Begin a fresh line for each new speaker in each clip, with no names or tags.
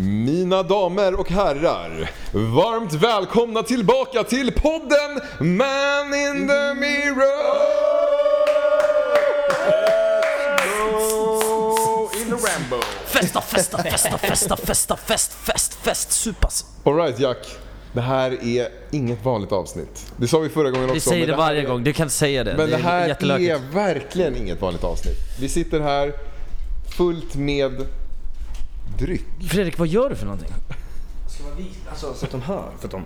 Mina damer och herrar, varmt välkomna tillbaka till podden Man in the Mirror! In the Rambo.
Festa, festa, festa, festa, festa, fest, fest, fest, supas.
Alright Jack, det här är inget vanligt avsnitt. Det sa vi förra gången också.
Vi säger
men
det
här
varje
är-
gång, du kan säga det.
Men det här
jättelökigt.
är verkligen inget vanligt avsnitt. Vi sitter här fullt med dryck.
Fredrik, vad gör du för någonting?
Alltså så att de hör. Så att de...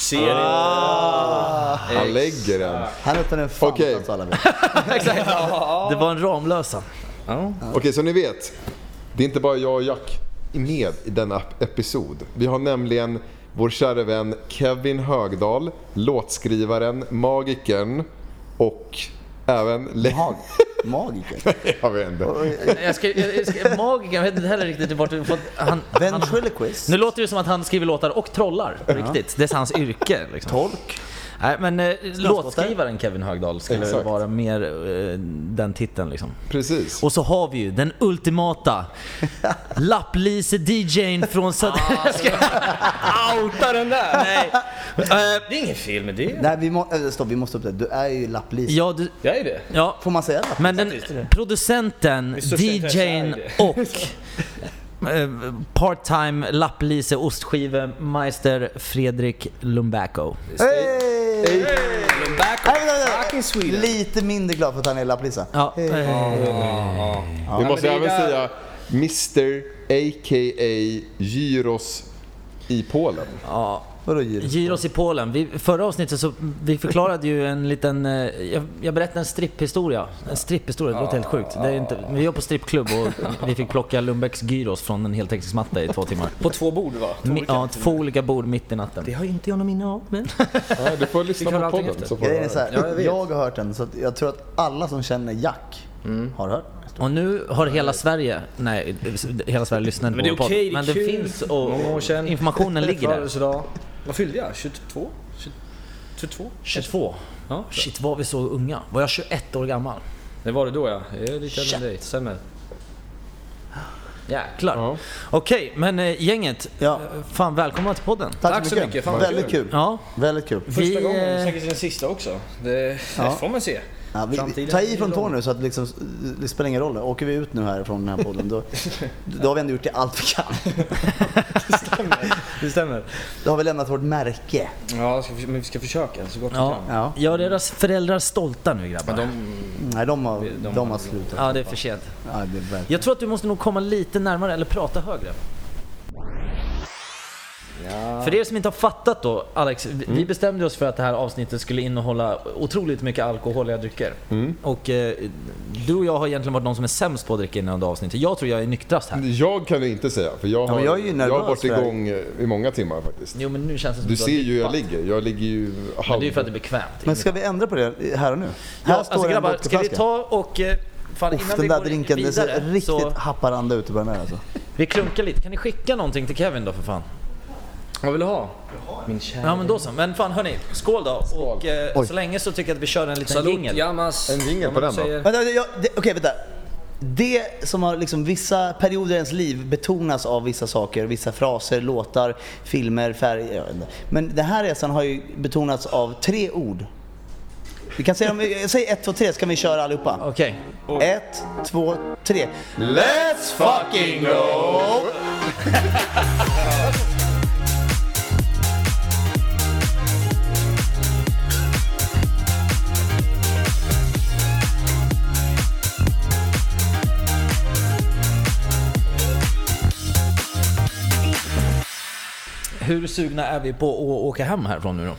Ser
Han lägger den.
Han öppnade en fan
Okej.
alltså alla vi.
Det var en Ramlösa.
Okej, så ni vet. Det är inte bara jag och Jack med i denna episod. Vi har nämligen vår kära vän Kevin Högdahl, låtskrivaren, magikern och även... Le-
Mag. Magiker.
jag vet inte.
Jag ska, jag ska, magiker, jag vet inte heller riktigt vart du fått... Han,
Ventriloquist.
nu låter det som att han skriver låtar och trollar, på riktigt. Det är hans yrke. Liksom.
Tolk.
Nej, men eh, låtskrivaren Kevin Högdahl skulle
Exakt.
vara mer eh, den titeln liksom.
Precis.
Och så har vi ju den ultimata lapplise-DJn från Söder... Jag ska outa den där! Nej. Eh,
Det är inget fel med det.
Nej vi, må, äh, stopp, vi måste upp det. Du är ju lapplis.
ja, du,
Jag är det.
ja,
Får man säga lapp?
men den producenten,
största intresse
DJn
är
och eh, part-time lapplise ostskivemeister Fredrik Lumbaco.
Hey!
Back
Nej, nej, nej.
Back in Sweden.
Lite mindre glad för att han är lapplisa.
Ja, eh,
Vi måste
men
även
det är
säga Mr a.k.a. Gyros i Polen.
Vadå Gyros?
Gyros i Polen. Vi, förra avsnittet så vi förklarade ju en liten... eh, Jag, jag berättade en stripphistoria. En stripphistoria, det låter helt sjukt. Det är inte, vi var på strippklubb och vi fick plocka Lundbäcks gyros från en heltäckningsmatta i två timmar.
På två bord va? Två
Mi,
olika.
ja, två olika bord mitt i natten. Det har inte jag någon minne av. Men...
Ja, du får lyssna
Vi kan
på
höra allting
podden.
efter.
Så får du
Grejen är
höra.
så här,
Ja, jag
jag,
vet.
har hört den så att jag tror att alla som känner Jack
Mm.
har hört den.
Och nu har hela Sverige... Nej, hela Sverige lyssnar inte
Men det är
på vår
okej,
podd.
det är
Men det
kul.
finns och
Många år sedan.
informationen ligger där.
Födelsedag. Vad fyllde jag? 22? 22?
22.
Ja.
Shit, var vi så unga? Var jag 21 år gammal?
Det var det då ja. Jag är lite äldre än dig. Stämmer.
Jäklar.
Ja.
Okej, men eh, gänget.
Ja.
eh, Fan, välkomna till podden.
Tack,
Tack så mycket, fan vad
Väldigt kul.
Ja,
Väldigt kul.
Vi,
Första gången,
eh,
säkert den sista också. Det,
Ja.
det får man se.
Ja, vi, vi,
Framtiden
ta
är
i
ju
från tå
lång.
nu så att liksom, det spelar ingen roll. Åker vi ut nu här från den här podden då, då har vi ändå gjort det allt vi kan.
Det stämmer.
Då har vi lämnat vårt märke.
Ja, ska vi, men vi ska försöka så gott vi
ja.
kan.
Ja.
Gör deras föräldrar stolta nu grabbar.
Nej, de har, de
de
har slutat.
Ja, det är för sent.
Ja, det är verkligen-
Jag tror att du måste nog komma lite närmare eller prata högre. För er som inte har fattat då, Alex. vi-
Mm.
Vi bestämde oss för att det här avsnittet skulle innehålla otroligt mycket alkoholiga drycker.
Mm.
Och eh, du och jag har egentligen varit de som är sämst på att dricka innan det avsnittet. Jag tror jag är nyktrast här.
Jag kan inte säga, för jag har,
men jag är ju
jag
nervös
har varit
för det här.
igång i många timmar faktiskt.
Jo men nu känns det som
Du
att
ser
har
ju hur jag
dippat.
ligger. Jag ligger ju
Men
halv...
det är ju för att det är bekvämt.
Men ska vi ändra på det här och nu?
Ja,
Här
alltså
en
grabbar, ska vi
vodkaflaska.
ta och... eh, Fan,
Uff,
innan
den
vi
där
går
drinken, det
vidare
ser riktigt
så
Haparanda ut på den här alltså.
vi klunkar lite. Kan ni skicka någonting till Kevin då för fan?
Vad vill du ha? Min kära.
Ja men då så. Men fan hörni, skål då. Och eh, så länge så tycker jag att vi kör en liten
Salut,
jingel.
jamas.
En jingle på den, va?
Vänta, vänta, jag- det- Okej, vänta. Det som har liksom vissa perioder i ens liv betonas av vissa saker, vissa fraser, låtar, filmer, färger. jag vet inte. Men den här resan har ju betonats av tre ord. Vi kan säga, om vi- jag säger ett, två, tre så kan vi köra allihopa.
Okej.
Ett, två, tre.
Let's fucking go!
Hur sugna är vi på att åka hem härifrån nu då?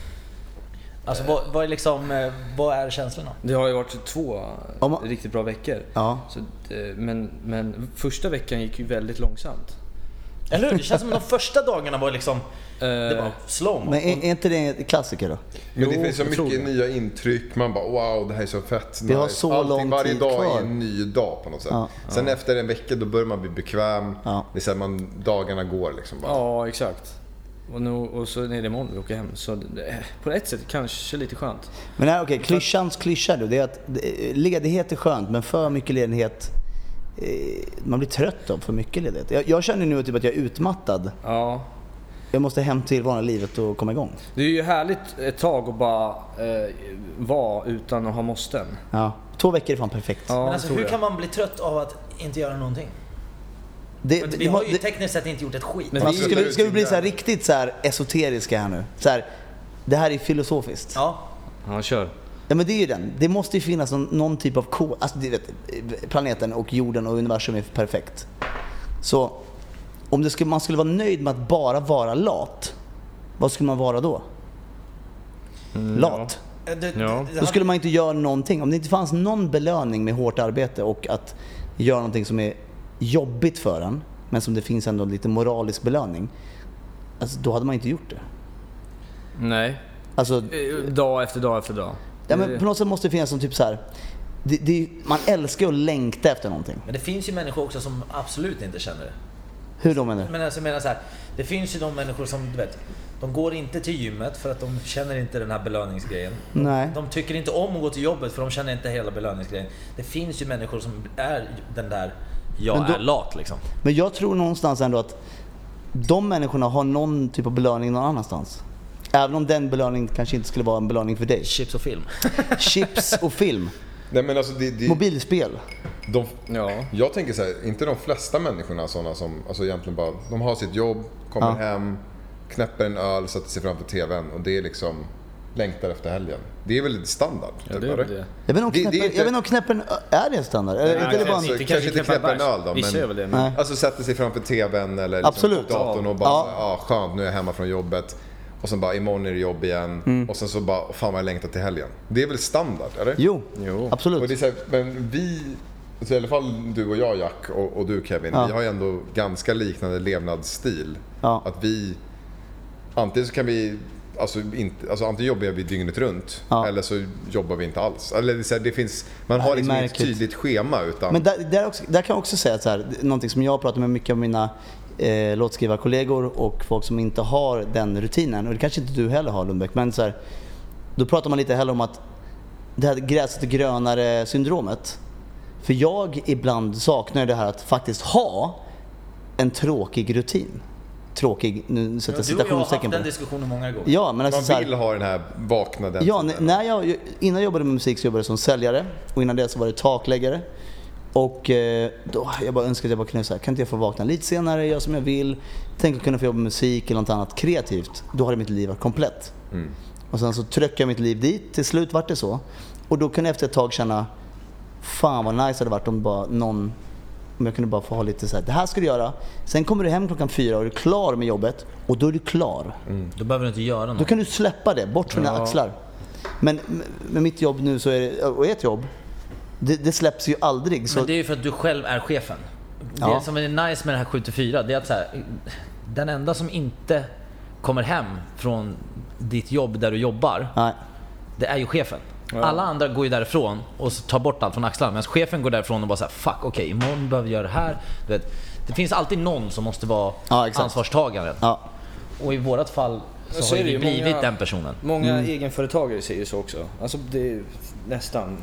Alltså vad, vad är liksom, eh, vad är känslorna?
Det har ju varit två
Om man-
riktigt bra veckor.
Ja.
Så, eh, men, men första veckan gick ju väldigt långsamt.
Eller hur? Det känns som de första dagarna var liksom, det
Eh,
var slow.
Men är, är inte det en klassiker då?
Men det
Jo,
finns så
jag tror
mycket
det.
nya intryck. Man bara wow, det här är så fett.
Vi har
nice.
så lång
Varje
tid
dag
kvar.
är en ny dag på något sätt.
Ja.
Sen efter en vecka då börjar man bli bekväm.
Ja.
Det är så här, man, dagarna går liksom bara.
Ja, exakt. Och, nu, och så är det imorgon vi åker hem. Så det, på ett sätt kanske lite skönt.
Men nej, okej, klyschans klyscha då, det är att eh, ledighet är skönt men för mycket ledighet eh, man blir trött av för mycket ledighet. Jag, jag känner nu typ att jag är utmattad.
Ja.
Jag måste hem till vanliga livet och komma igång.
Det är ju härligt ett tag att bara eh, vara utan att ha måsten.
Ja. Två veckor är fan perfekt.
Ja,
Men
det
alltså
tror
hur
jag.
kan man bli trött av att inte göra någonting?
Det,
Vi
det-
har ju
det-
tekniskt sett inte gjort ett skit.
Men-
Men
Vi
alltså, ska,
rullar
vi,
ut
ska vi bli
sin
så här
värld.
riktigt så här esoteriska här nu? Så här, det här är filosofiskt. Ja.
Ja,
Ja, kör.
men det är ju den. Det måste ju finnas någon, någon typ av kod. Alltså, du vet, planeten och jorden och universum är perfekt. Så om det skulle, man skulle vara nöjd med att bara vara lat, vad skulle man vara då? lat.
det, Eh, det,
Mm, Ja.
det,
Då skulle man inte göra någonting. Om det inte fanns någon belöning med hårt arbete och att göra någonting som är jobbigt för en, men som det finns ändå lite moralisk belöning. Alltså, då hade man inte gjort det.
Nej.
Alltså,
Eh, Dag efter dag efter dag.
ja, men på något sätt måste det finnas någon typ så här. Det, det, man älskar att längta efter någonting.
men det finns ju människor också som absolut inte känner det.
Hur då menar du?
Men alltså, jag menar så här, det finns ju de människor som, du vet, de går inte till gymmet för att de känner inte den här belöningsgrejen.
Nej.
De tycker inte om att gå till jobbet för de känner inte hela belöningsgrejen. Det finns ju människor som är den där, jag
Men då-
är lat liksom.
Men jag tror någonstans ändå att de människorna har någon typ av belöning någon annanstans. Även om den belöningen kanske inte skulle vara en belöning för dig.
Chips och film.
Chips och film.
Nej, men alltså, det, det,
Mobilspel.
de,
Ja.
jag tänker så här, inte de flesta människorna sådana som alltså egentligen bara, de har sitt jobb, kommer
Ja.
hem, knäpper en öl, sätter sig framför TVn och det är liksom längtar efter helgen. Det är väl standard? typ,
Ja, det är
eller?
väl det.
Jag vet inte om
Det- det är
knäppen,
inte-
jag vet inte om knäppen är det standard. Eller,
Nej,
eller bara,
alltså,
inte-
kanske inte knäppa en
bärs.
öl då,
Vissa
men-
gör väl det. Men...
nej.
Alltså sätter sig framför TVn eller liksom
Absolut.
datorn och bara
Ja.
ja. ah, skönt nu är jag hemma från jobbet. Och sen bara imorgon är det jobb igen. Och sen så bara fan vad jag längtar till helgen. Det är väl standard eller?
Mm. Jo,
Jo.
Och det är
absolut.
så här, men vi, så i alla fall du och jag Jack och, och du Kevin,
Ja.
vi har ju ändå ganska liknande levnadsstil.
Ja.
Att vi, antingen så kan vi, alltså, inte, alltså antingen jobbar vi dygnet runt
Ja.
eller så jobbar vi inte alls. Eller det, är så här, det finns, man har
det är
liksom inget
märkligt.
tydligt schema utan
Men där, där, också, där kan jag också säga att så här, någonting som jag pratar med mycket av mina eh, låtskrivarkollegor och folk som inte har den rutinen, och det kanske inte du heller har Lundbäck, men så här, då pratar man lite heller om att det här gräset är grönare syndromet. För jag ibland saknar det här att faktiskt ha en tråkig rutin. Tråkig, nu sätter jag
Du och jag har haft
citationstecken på
den
det.
diskussionen många gånger.
Ja, men alltså
man
så här-
vill ha den här vakna den
Ja,
tiden.
n- när jag, innan jag jobbade med musik så jobbade jag som säljare och innan det så var det takläggare. Och eh, då, jag bara önskade att jag bara kunde säga, kan inte jag få vakna lite senare, göra som jag vill. Tänk att kunna få jobba med musik eller något annat kreativt. Då hade mitt liv varit komplett.
Mm.
Och sen så tryckte jag mitt liv dit, till slut vart det så. Och då kunde jag efter ett tag känna, fan vad nice det hade varit om bara någon om jag kunde bara få ha lite så här, det här ska du göra. Sen kommer du hem klockan fyra och du är klar med jobbet. Och då är du klar.
Mm. Då behöver du inte göra
Då
något.
kan du släppa det, bort från dina axlar. Men m- med mitt jobb nu så är det, och ert jobb, det, det släpps ju aldrig. Så,
Men det är ju för att du själv är chefen.
Ja.
Det som är nice med det här 7-4, det är att så här, den enda som inte kommer hem från ditt jobb där du jobbar,
nej.
det är ju chefen. Alla andra går ju därifrån och så tar bort allt från axlarna. Medan chefen går därifrån och bara såhär, fuck okej, imorgon behöver vi göra det här. Du vet, det finns alltid någon som måste vara
Ja, exakt.
ansvarstagaren.
Ja,
Och i vårat fall så,
Så
har
är det
ju vi
ju,
blivit
många-
den personen.
Många
Mm.
egenföretagare säger ju så också. Alltså det är ju nästan...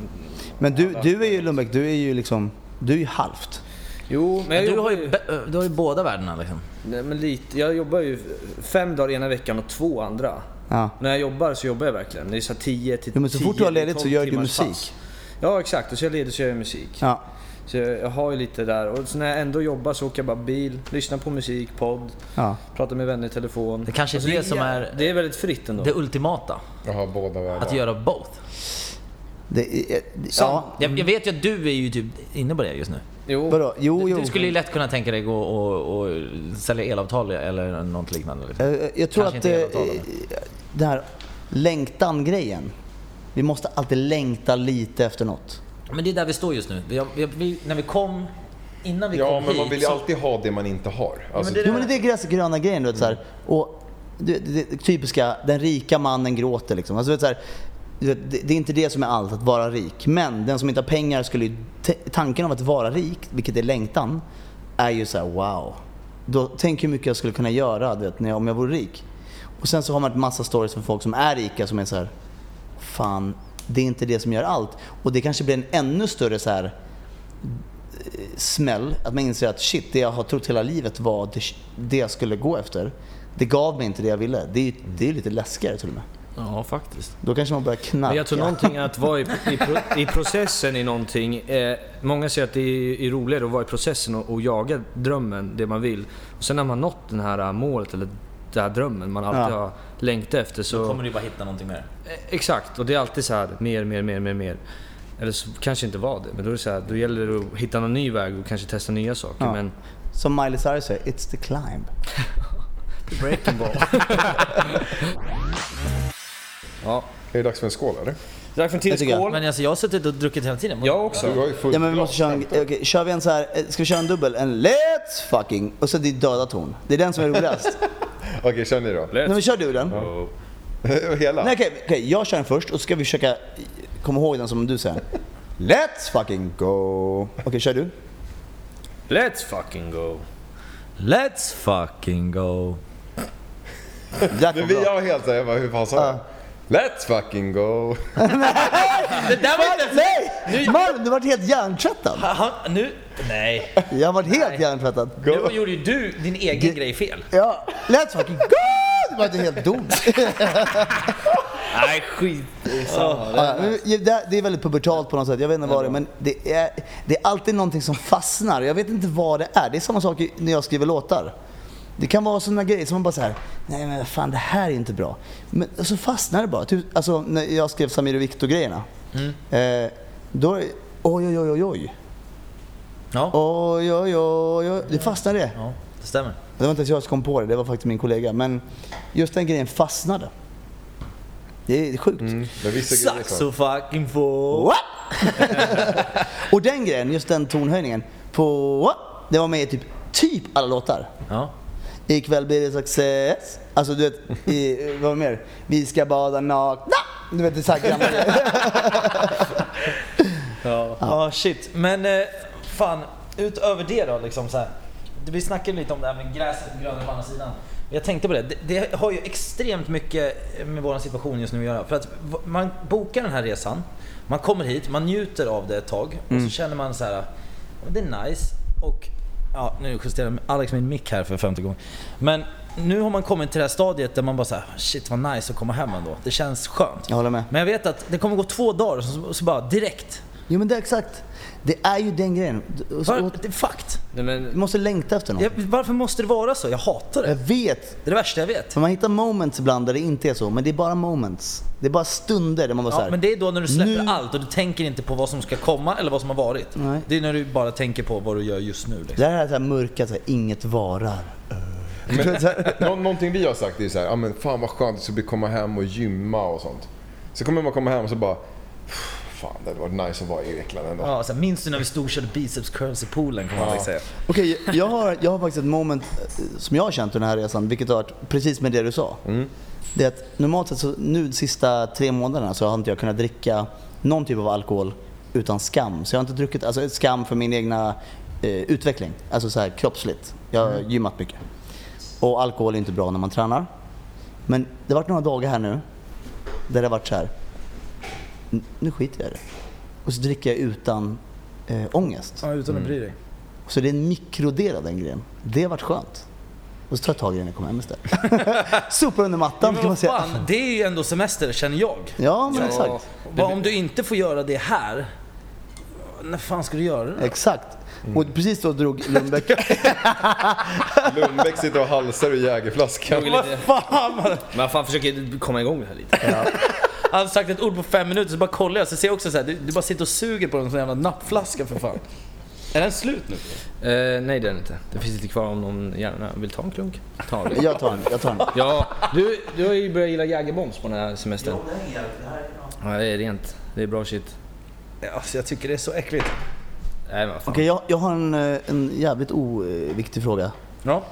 Men du, du är ju Lundbäck, du är ju liksom, du är ju halvt.
Jo, men jag
Du
jobbar
har,
ju...
ju, be- du har ju båda världarna liksom.
Nej, men lite. Jag jobbar ju fem dagar ena veckan och två andra.
Ja.
När jag jobbar så jobbar jag verkligen. Det är så här 10 till
Jo, men så
10
fort du har
till
ledigt så
12
gör du
timmars
musik.
pass. Ja exakt, och så är jag ledig så gör jag musik.
Ja.
Så jag, jag har ju lite där. Och så när jag ändå jobbar så åker jag bara bil, lyssnar på musik, podd,
Ja.
pratar med vänner i telefon.
Det kanske är
Alltså,
det som är-
Det är väldigt fritt ändå.
Det ultimata.
Jag har båda världar.
Att göra both.
Det, är- ja.
Ja. Jag, jag vet ju att du är ju typ inne på det just nu.
Jo,
Vadå? Jo, jo.
Du skulle ju lätt kunna tänka dig gå och, och sälja elavtal eller något liknande. Liksom.
Eh, Jag tror
Kanske
att
inte
eh,
elavtalen.
den här längtan-grejen. Vi måste alltid längta lite efter något.
Men det är där vi står just nu. Vi, har- vi, har- vi, när vi kom, innan vi
Ja,
kom
men
hit
man vill ju
så-
alltid ha det man inte har. Alltså,
det är
Jo men det är gräset gröna grejen du vet såhär. Och det, det, det typiska, den rika mannen gråter liksom. Alltså, du vet, så här, du vet, det, det är inte det som är allt, att vara rik. Men den som inte har pengar skulle ju, t- tanken om att vara rik, vilket är längtan, är ju så här: wow. Då, tänk hur mycket jag skulle kunna göra du vet, när jag, om jag vore rik. Och sen så har man ett massa stories från folk som är rika som är så här. fan det är inte det som gör allt. Och det kanske blir en ännu större så här smäll. Att man inser att shit, det jag har trott hela livet var det, det jag skulle gå efter. Det gav mig inte det jag ville. Det är ju det är lite läskigare till och med.
Ja, faktiskt.
Då kanske man börjar knarka.
Men jag tror någonting att vara i, i, pro- i processen i någonting. Eh, många säger att det är, är roligare att vara i processen och, och jaga drömmen, det man vill. Och sen när man nått den här eh, målet eller den här drömmen man alltid
Ja.
har längtat efter så...
Kommer du bara hitta någonting mer?
Eh, Exakt, och det är alltid så här mer, mer, mer, mer, mer. Eller så kanske inte var det, men då är det så här, då gäller det att hitta någon ny väg och kanske testa nya saker.
Ja.
Men
Som Miley Cyrus säger, it's the climb.
breaking ball. ja.
Är det dags för en skål eller?
Dags för en till
tycker jag.
skål.
Men alltså jag har suttit och druckit hela tiden.
Jag
Du
också.
har ju fullt
Ja men vi
glas.
måste köra en, okej, kör vi en så här, eh, ska vi köra en dubbel? En let's fucking, och så det är döda ton. Det är den som är roligast.
Okej, kör ni då.
Nej men kör du den.
Hela?
Nej okej, okej, jag kör den först och så ska vi försöka eh, komma ihåg den som du säger. Let's fucking go. Okej, kör du.
Let's fucking go.
Let's fucking go.
Där
Men
kom
vi
bra.
har helt såhär, jag bara, hur fan sa jag? Let's fucking go!
Det där var inte...
Nej! Malm, du vart helt hjärntvättad.
Han, nu... Nej.
Jag vart helt hjärntvättad.
Nu gjorde ju du din egen grej fel.
Ja, let's fucking go! Du vart helt dum.
Nej, skit
Ja, men det, det är väldigt pubertalt på något sätt. Jag vet inte vad det är, men det är, det är alltid någonting som fastnar. Jag vet inte vad det är. Det är samma sak i- när jag skriver låtar. Det kan vara sådana grejer som man bara så här, nej men fan det här är inte bra. Men så fastnar det bara. Typ, alltså när jag skrev Samir och Viktor-grejerna. Eh, då, oj oj oj oj oj.
Ja.
Oj oj oj oj. Det fastnade det.
Ja, det stämmer.
Det var inte ens jag som kom på det, det var faktiskt min kollega. Men just den grejen fastnade. Det är sjukt.
Men vissa grejer är
Saxo
så.
fucking få.
What? och den grejen, just den tonhöjningen på what? Det var med i typ, typ alla låtar.
Ja.
Ikväll blir det success. Alltså du vet, i, eh, vad var det mer? Vi ska bada nakna. Du vet, det är så här gamla grejer.
Ja, ah, shit. Men eh, fan, utöver det då liksom så här. Vi snackade lite om det här med gräset grönare på andra sidan. Jag tänkte på det. det, det har ju extremt mycket med vår situation just nu att göra. För att v- man bokar den här resan, man kommer hit, man njuter av det ett tag och
Mm.
så känner man så här, det är nice. Och ja, nu justerar Alex min mick här för femte gången. Men nu har man kommit till det här stadiet där man bara så här, shit vad nice att komma hem ändå. Det känns skönt.
Jag håller med.
Men jag vet att det kommer gå två dagar och så, så bara direkt
Jo men det är exakt. Det är ju den grejen. Du- och så-
var,
och-
det är fakt.
Du
Nej, men,
måste längta efter
Jag,
något.
varför måste det vara så? Jag hatar
Jag
det.
vet.
Det är det värsta jag vet.
För man hittar moments ibland där det inte är så, men det är bara moments. Det är bara stunder där man bara så
Ja,
här,
men det är då när du släpper
Nu-
allt och du tänker inte på vad som ska komma eller vad som har varit.
Nej.
Det är när du bara tänker på vad du gör just nu. Liksom.
Det här är så här mörka, så här, inget varar.
Nå- någonting vi har sagt är ju såhär, ah, men fan vad skönt det ska bli att komma hem och gymma och sånt. Så kommer man komma hem och så bara, fan det hade varit nice att vara i Grekland ändå.
Ja, så här, minns du när vi stod och körde biceps curls i poolen? Kommer ja. säga.
Okej, jag har, jag har faktiskt ett moment eh, som jag har känt under den här resan, vilket har varit precis med det du sa. Det är att normalt sett så, nu de sista tre månaderna så har inte jag kunnat dricka någon typ av alkohol utan skam. Så jag har inte druckit, alltså skam för min egna eh, utveckling. Alltså så här kroppsligt. Jag har gymmat mycket. Och alkohol är inte bra när man tränar. Men det har varit några dagar här nu där det har varit så här. "N- Nu skiter jag i det. Och så dricker jag utan eh, ångest.
Mm. Ja, utan att bry dig.
Så det är en mikrodel av den grejen. Det har varit skönt. Och så tar jag tag i den när jag kommer hem istället. Sopar under mattan kan
Men
man
vad
säga.
fan, det är ju ändå semester känner jag.
Ja men exakt.
Vad om du inte får göra det här, när fan ska du göra det?
Exakt.
Mm.
Och precis då drog Lundbäck...
Lundbäck sitter och halsar ur jägerflaskan.
jag
Vad
lite,
fan! man-
men jag fan försöker komma igång med det här lite.
Han har sagt ett ord på fem minuter så bara kollar jag så ser jag också så här, du, du bara sitter och suger på den sån jävla nappflaska för fan. Är den slut nu?
Eh, nej det är det inte. Det finns lite kvar om någon gärna vill ta en klunk. Ta det.
Jag tar den, jag tar den.
Ja, du, du har ju börjat gilla Jägerbombs på den här semestern. Ja, det är rent. Det är bra shit.
Alltså jag tycker det är så äckligt.
Nej, men vad fan.
Okej, jag, jag har en, eh, en jävligt oviktig fråga.
Ja.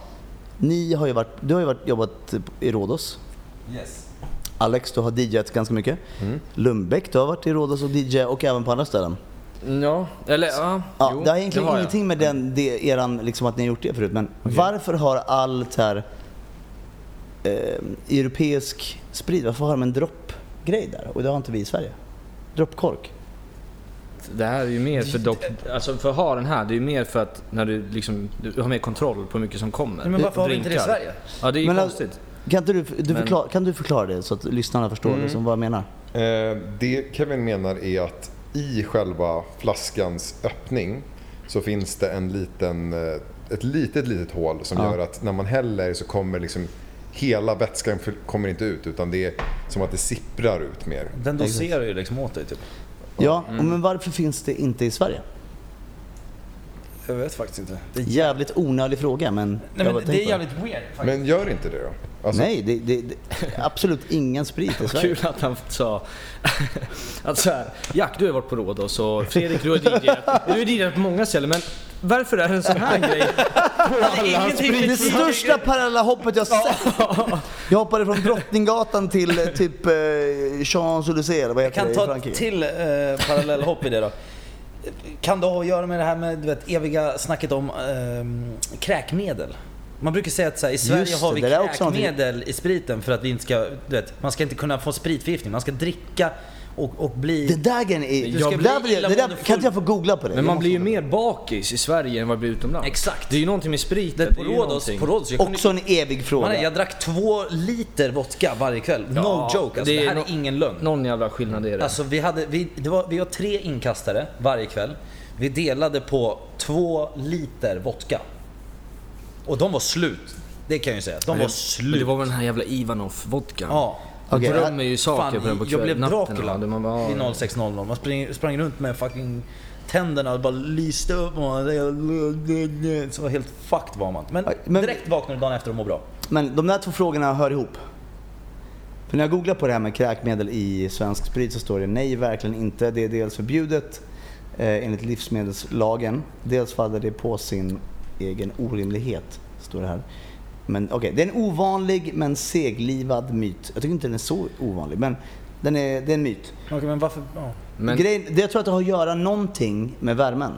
Ni har ju varit, du har ju varit, jobbat i Rhodos.
Yes.
Alex, du har DJat ganska mycket.
Mm.
Lundbäck, du har varit i Rhodos och DJ och även på andra ställen.
Ja, eller ja.
Ja,
jo,
det har egentligen
har jag.
ingenting med den, det, eran, liksom att ni har gjort det förut, men varför har allt här eh, europeisk sprit, varför har de en droppgrej där? Och det har inte vi i Sverige. Droppkork.
att det här är ju mer för dock, alltså för att ha den här, det är ju mer för att när du liksom, du har mer kontroll på hur mycket som kommer.
Men varför har vi inte det i
Drinkar.
Sverige?
Ja, det är ju
Men alltså-
konstigt.
Kan, inte du, du
Men-
förklara, kan du förklara det så att lyssnarna förstår liksom, vad jag menar?
Eh, Det Kevin menar är att i själva flaskans öppning så finns det en liten, eh, ett litet, litet hål som
Ja.
gör att när man häller så kommer liksom hela vätskan för- kommer inte ut utan det är som att det sipprar ut mer.
Den doserar ju liksom åt dig typ.
Ja, men varför finns det inte i Sverige?
Jag vet faktiskt inte. Nej,
Jävligt onödig fråga men... jag
men
bara
det,
tänker
är
på
jävligt weird faktiskt.
Men gör inte det då? Alltså,
Nej, det, det, det, absolut ingen sprit i Sverige.
Kul att han sa att så här, Jack du har varit på råd och så Fredrik du har DJat. Du har DJat på många ställen men varför är det en sån här grej på alla hans
Det
priser?
största parallella hoppet jag sett. Jag hoppade från Drottninggatan till eh, typ eh, Champs-Élysées eller vad
Jag
heter det
kan
i
ta
Frankrike.
till eh, parallellhopp i det då. Kan det ha att göra med det här med du vet, eviga snacket om ehm, kräkmedel? Man brukar säga att så här, i Sverige
Just
har
det,
vi
det där är också någonting-
kräkmedel i spriten för att vi inte ska, du vet, man ska inte kunna få spritförgiftning. Man ska dricka och, och bli...
Det där grejen är...
Du ska
det
bli
där, vill jag- det där,
illamående
kan inte jag få googla på det?
Men man
Jag
blir ju
måste-
mer bakis i Sverige än vad man blir utomlands.
Exakt.
Det är ju någonting med spriten.
Det, på
är ju
Rhodos,
någonting.
på Rhodos, jag, kunde,
Också en evig
man,
fråga.
jag drack två liter vodka varje kväll. No
Ja,
joke, alltså,
det
det,
är
här
nå-
är ingen lögn.
Någon jävla skillnad är det.
Alltså vi hade, vi, det var, vi var tre inkastare varje kväll. Vi delade på två liter vodka. Och de var slut. Det kan jag ju säga. De var
Men det
slut.
var väl den här jävla Ivanov-vodkan?
Ja.
Man
Okej,
drömmer ju saker på den på
Fan, jag
kvällen.
blev
natten,
Dracula
ja. Man bara,
vid 06.00. Man sprang, sprang runt med fucking tänderna och bara lyste upp. Och så var helt fucked var man. Men,
Men-
direkt vaknade dagen efter och mår bra.
Men de där två frågorna hör ihop. För när jag googlar på det här med kräkmedel i svensk sprit så står det nej, verkligen inte. Det är dels förbjudet eh, enligt livsmedelslagen. Dels faller det på sin egen orimlighet, står det här. Men okej, det är en ovanlig men seglivad myt. Jag tycker inte den är så ovanlig, men den är, det är en myt.
Okej men varför? Ja.
men
Grejen, det jag tror att det har att göra någonting med värmen.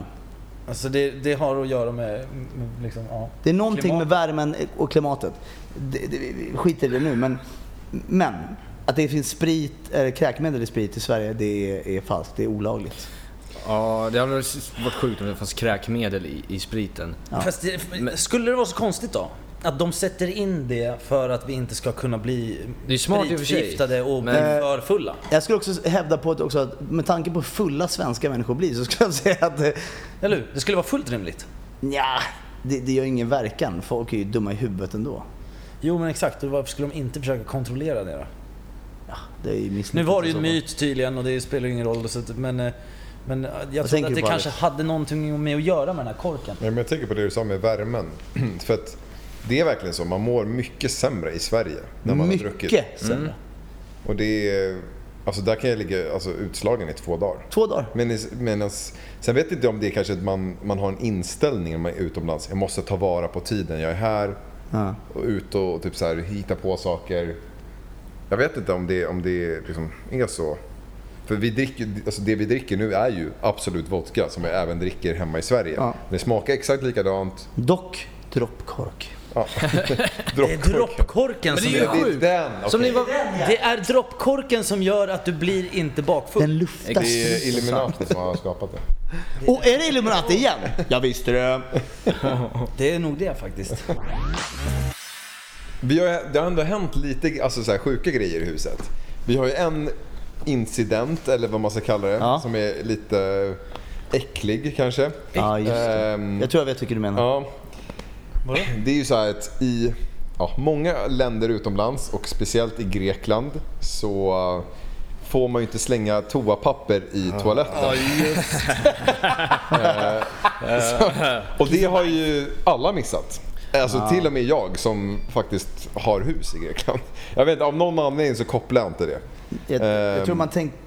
Alltså det, det har att göra med, med liksom, ja.
Det är någonting
Klimat.
med värmen och klimatet. Det, det, vi skiter i det nu, men, men att det finns sprit, eller kräkmedel i sprit i Sverige, det är, är falskt. Det är olagligt.
ja, det hade väl varit sjukt om det fanns kräkmedel i, i spriten.
Fast det, skulle det vara så konstigt då? Att de sätter in det för att vi inte ska kunna bli
Det är smart i och för sig.
spritförgiftade och bli
Men-
för fulla.
Jag skulle också hävda på att, också att med tanke på hur fulla svenska människor blir så skulle jag säga att eh,
Eller hur? Det skulle vara fullt rimligt.
nja, det, det gör ingen verkan. Folk är ju dumma i huvudet ändå.
Jo men exakt, och varför skulle de inte försöka kontrollera det då?
Det är ju misslyckat
Nu var det
i
ju
så
en
fall.
myt tydligen och det spelar ju ingen roll. Så att, men eh, men eh, jag trodde
tänker
att det
bara
kanske hade någonting med att göra med den här korken.
Nej, men jag tänker på det du sa med värmen. För att det är verkligen så, man mår mycket sämre i Sverige när man har druckit. Mm.
Mycket sämre.
Och det är, alltså där kan jag ligga alltså, utslagen i två dagar.
Två dagar.
Men, i- medans, sen vet inte om det är kanske att man, man har en inställning när man är utomlands. Jag måste ta vara på tiden jag är här.
Ja.
Och ut och typ så här, hitta på saker. Jag vet inte om det, om det liksom är så. För vi dricker, alltså det vi dricker nu är ju Absolut Vodka som jag även dricker hemma i Sverige.
Ja.
Det smakar exakt likadant.
Dock droppkork.
Ja.
Det är droppkorken som
Det
gör...
är den! okej.
Som ni var...
Det är droppkorken som gör att du blir inte bakfull.
Den luftas.
Det är Illuminati som har skapat det.
Och är det Illuminati igen? Jag visste
Mm.
det.
Det är nog det faktiskt.
Vi har, det har ändå hänt lite alltså så här, sjuka grejer i huset. Vi har ju en incident, eller vad man ska kalla det,
Ja.
som är lite äcklig kanske.
Ja, just det.
Ehm,
Jag tror jag vet vilken du menar.
ja. Det är ju så här att i ja, många länder utomlands och speciellt i Grekland så eh, får man ju inte slänga toapapper i toaletten. Eh, så, och det har ju alla missat. Alltså till och med jag som faktiskt har hus i Grekland. Jag vet inte, av någon anledning så kopplar jag inte det.
Jag, jag
Ehm.
tror man tänker...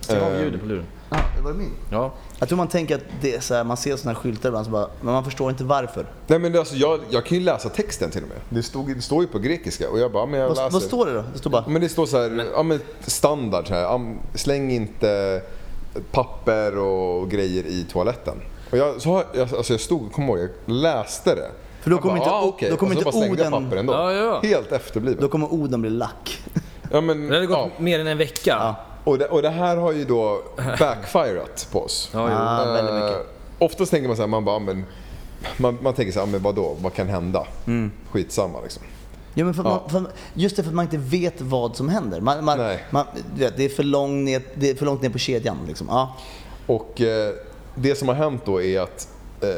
Stäng av ljudet på luren.
Ah, det var min.
Ja.
Jag tror man tänker att det är så här, man ser såna här skyltar ibland, så bara, men man förstår inte varför.
Nej men alltså jag, jag kan ju läsa texten till och med. Det, stod, det står ju på grekiska och jag bara, men jag läser.
Vad, vad står det då? Det står bara...
Ja, Men det står så här, ja, men standard så här, ja, men släng inte papper och grejer i toaletten. Och jag, så har, jag, alltså jag stod, kom ihåg, jag läste det.
För då
Jag
kommer
bara,
inte
ah,
o-
okej.
då kommer
och så
inte
bara slängde jag
orden-
papper ändå.
Ja, ja.
Helt efterblivet.
Då kommer Oden bli lack.
Ja, men,
Det hade gått
ja.
mer än en vecka.
Ja.
Och det, och det här har ju då backfirat på oss.
Ja, jo.
Ah, väldigt mycket.
Eh, Oftast tänker man så här, man bara, ah, men, man, man tänker så här, ah, men vadå, vad kan hända?
Mm.
Skitsamma liksom.
Ja, men för att
Ja.
Man, för, att- just det för att man inte vet vad som händer. Man, man,
Nej.
man, du vet, det, är för långt ner, det är för långt ner på kedjan. Liksom. Ja.
Och eh, det som har hänt då är att eh,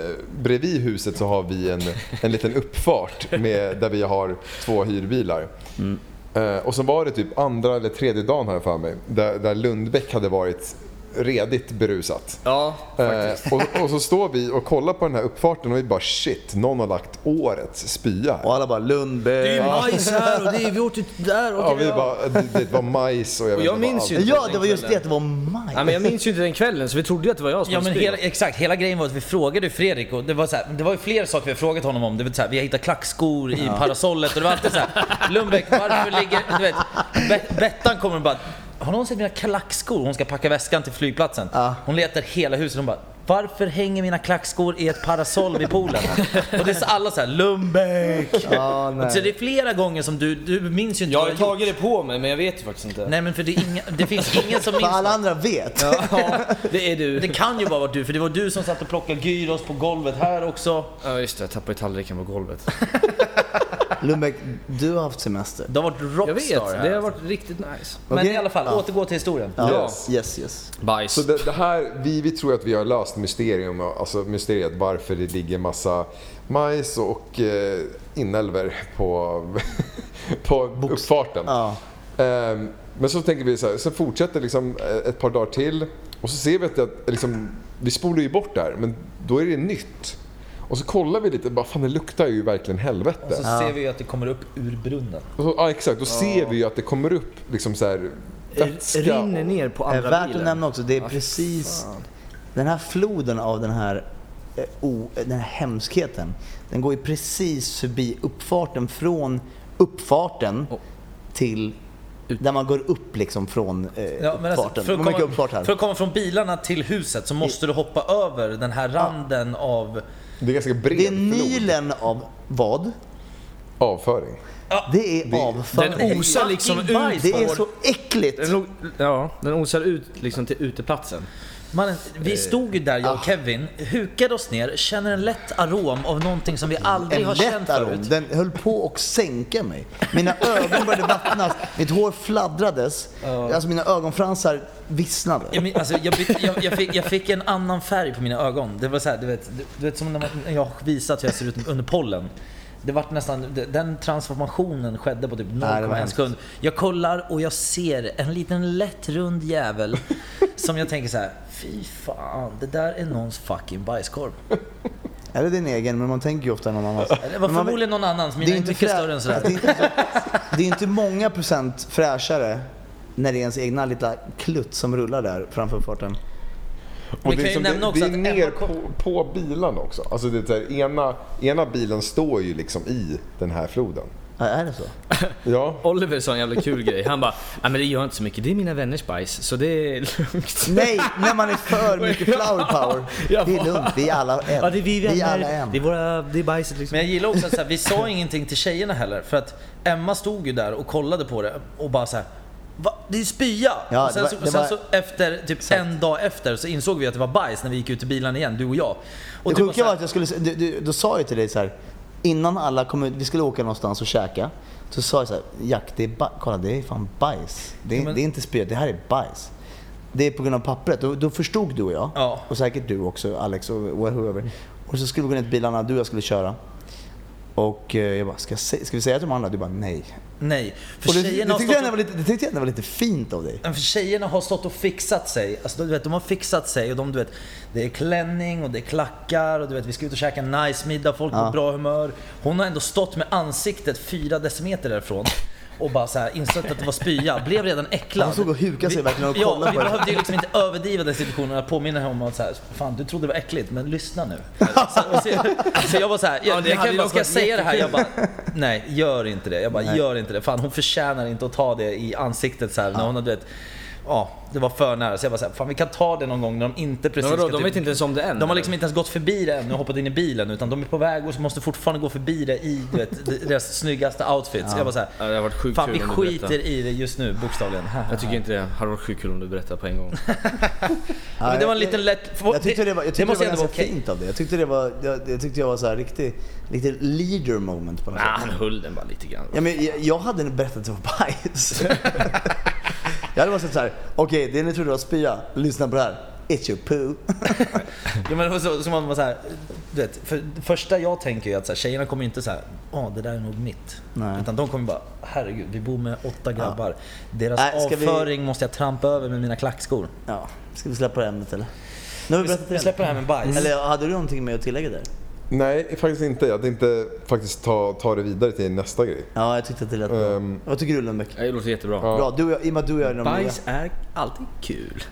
bredvid huset så har vi en, en liten uppfart med, där vi har två hyrbilar.
Mm.
Eh, och så var det typ andra eller tredje dagen här för mig, där, där Lundbäck hade varit redigt berusat.
Ja,
Eh, och, och så står vi och kollar på den här uppfarten och vi bara shit, någon har lagt årets spya här.
Och alla bara Lundberg.
Det är ju majs här och det är vårt där och
Ja, vi bara, det, det var majs och jag, vet
jag
inte vad
minns
allt.
ju-
Ja, det var just det. att Det var maj.
Ja, men jag minns ju inte den kvällen så vi trodde ju att det var jag som
Ja men
spydde.
hela, exakt, hela grejen var att vi frågade ju Fredrik och det var, så här, det var ju fler saker vi frågat honom om. Det var så här, vi har hittat klackskor i parasollet och det var alltid så här. Lundbäck, varför ligger... Du vet, Be- Bettan kommer och bara har någon sett mina klackskor? Hon ska packa väskan till flygplatsen.
Ja.
Hon letar hela huset och hon bara Varför hänger mina klackskor i ett parasoll vid poolen? och det är så alla så här Lundbäck!
Ja, nej.
Och Så det är flera gånger som du, du minns ju inte
Jag
vad
har ju
du gjort.
tagit det på mig men jag vet ju faktiskt inte.
Nej men för det, är inga, det finns ingen som
För
minns
alla andra vet.
Ja, det är du.
Det kan ju bara vara du, för det var du som satt och plockade gyros på golvet här också.
Ja just det, jag tappade ju tallriken på golvet.
Lundberg, du har haft semester.
Du har varit
Jag
rockstar
vet,
här.
det har varit riktigt nice.
Men
Okej.
i alla fall,
Ja.
återgå till historien.
Ja.
Yes.
Yes, yes.
Bajs.
Så det, det här, vi, vi tror att vi har löst mysterium, alltså mysteriet varför det ligger massa majs och eh, inälvor på, på uppfarten.
Ja.
Ehm, men så tänker vi så här, så fortsätter liksom eh, ett par dagar till och så ser vi att det, att liksom, vi spolar ju bort där men då är det nytt. Och så kollar vi lite, bara fan det luktar ju verkligen helvete.
Och Alltså, så ser vi ju att det kommer upp ur brunnen.
Och så, ja, exakt. Då ser vi ju att det kommer upp liksom så här vätska.
Rinner ner på
Eh,
andra
Värt att
bilen.
nämna också, det är precis den här floden av den här, eh, o, den här hemskheten. Den går ju precis förbi uppfarten från uppfarten
Och-
till där man går upp liksom från eh,
Ja, men alltså,
uppfarten.
för,
Det
att
var mycket
komma,
uppfart här.
för att komma från bilarna till huset så måste du hoppa över den här randen av...
Det är ganska bred
det är
flod.
Nilen av vad?
Avföring.
Det är avföring.
Den osar liksom
Fucking
ut.
bajs.
det är så äckligt!
Den, låg- ja, den osar ut liksom till uteplatsen.
Mannen,
Eh,
vi stod ju där jag
ah.
och Kevin, hukade oss ner, känner en lätt arom av någonting som vi aldrig
En
har känt
lätt arom.
förut.
Den höll på att sänka mig. Mina ögon började vattnas, mitt hår fladdrades. Alltså mina ögonfransar vissnade.
Jag, men, alltså, jag, bytte, jag, jag, fick, jag fick en annan färg på mina ögon. Det var så här, du vet, du, du vet som när, man, när jag har visat hur jag ser ut under pollen. Det vart nästan, de- den transformationen skedde på typ
det var
0,1
hemskt.
sekund. Jag kollar och jag ser en liten lätt rund jävel som jag tänker så här, fy fan, det där är någons fucking bajskorv.
Eller din egen, men man tänker ju ofta någon annans.
Det var
Men man-
förmodligen någon annans,
det
mina
är
är
inte
mycket
frä-
större än sådär.
Det är inte, så- det är inte många procent fräschare när det är ens egna lilla klutt som rullar där framför farten.
Vi
Och
kan
det
ju
är, som,
nämna
det,
också
det är
att Emma
ner
kom-
på, på bilen också. Alltså det är så här, ena, ena bilen står ju liksom i den här floden.
Ja, är det så?
Ja.
Oliver sa en jävla kul grej. Han bara Nej men det gör inte så mycket, det är mina vänners bajs så det är lugnt.
Nej, när man är för mycket flower power.
Ja.
Det är lugnt, vi är alla en.
Ja, det är vi vänner,
är alla en.
det är, våra, det är bajset liksom.
Men jag gillar också att så här, vi sa ingenting till tjejerna heller. För att Emma stod ju där och kollade på det och bara så här. Va? Det är ju spya!
Ja,
och sen, så,
det var-
och
det
sen
var-
så efter, typ en dag efter, så insåg vi att det var bajs när vi gick ut i bilen igen, du och jag. Och
Det
du
sjuka
så
var
här,
att jag skulle, du, du, då sa jag till dig så här, innan alla kom ut, vi skulle åka någonstans och käka. Så sa jag så här, Jack, det är ba- kolla det är fan bajs. Det är,
men-
det är inte spel, det här är bajs. Det är på grund av pappret. Då, då förstod du och jag,
Ja.
och säkert du också Alex och whoever. Och så skulle vi gå ner till bilarna, du och jag skulle köra. Och eh, jag bara, ska, jag se- ska vi säga till de andra? Du bara, nej.
nej. För
Och det, det,
tjejerna,
tyckte jag
har
ändå
stått
var lite, det tyckte jag ändå var lite fint av dig.
och, för tjejerna har stått och fixat sig. Alltså, du vet, de har fixat sig och de, du vet, det är klänning och det är klackar och du vet, vi ska ut och käka en nice middag, folk
Ja.
på bra humör. Hon har ändå stått med ansiktet fyra decimeter därifrån. Och bara så här insett att det var spya, blev redan äcklad.
Hon stod och hukade sig verkligen och
Ja,
kollade
vi
på det.
behövde ju liksom inte överdriva den situationen och påminna henne om att så här, fan du trodde det var äckligt, men lyssna nu. Så, så, så jag var så här, jag,
Ja, det
jag
hade
kan,
ju
bara,
dock
ska jag
varit
säga det här? Jag bara, nej gör inte det. Jag bara, gör inte det. Fan hon förtjänar inte att ta det i ansiktet så här, när hon har, du vet, ja, det var för nära. Så jag bara såhär, fan vi kan ta det någon gång när de inte precis
Men vadå,
ska
de
typ-
vet inte ens om det än.
de har liksom inte ens gått förbi det ännu och hoppat in i bilen utan de är på väg och så måste fortfarande gå förbi det i du vet, deras snyggaste outfits. Jag bara så här,
Ja, det har varit sjukt
fan
kul
vi
om du
skiter
berättar.
i det just nu bokstavligen.
Jag tycker inte det. Hade varit sjukt kul om du berättade på en gång.
Ja, men det var en liten lätt...
Jag tyckte det var, jag tyckte det
måste
var
ändå
ganska
okej.
fint av dig. Jag tyckte det var, jag, jag tyckte jag var så här riktig, riktig leader moment på något
Nej,
Ah.
sätt.
han höll den bara lite grann.
Ja, men jag, jag hade en berättelse om bajs. jag hade bara sagt såhär, okej det ni trodde var spya, lyssna på det här. It's your poo.
Ja, men det var så, så man var så här, du vet, för, det första jag tänker är att så här, tjejerna kommer ju inte så här, åh det där är nog mitt.
Nej.
Utan de kommer bara, herregud vi bor med åtta grabbar. Deras
Nej, ska vi-
avföring måste jag trampa över med mina klackskor.
Ja, ska vi släppa det ämnet eller? Nu har
Vi,
vi berättat
vi
det.
släpper Mm. det här med bajs.
Eller hade du någonting med att tillägga där?
Nej, faktiskt inte. Jag tänkte faktiskt ta, ta det vidare till nästa grej.
Ja, jag tyckte att det lät bra.
Ehm.
Vad tycker du Lundbäck?
Det låter jättebra.
Ja.
Bra, du och jag, i och med att du och jag är de nya.
Bajs är alltid kul.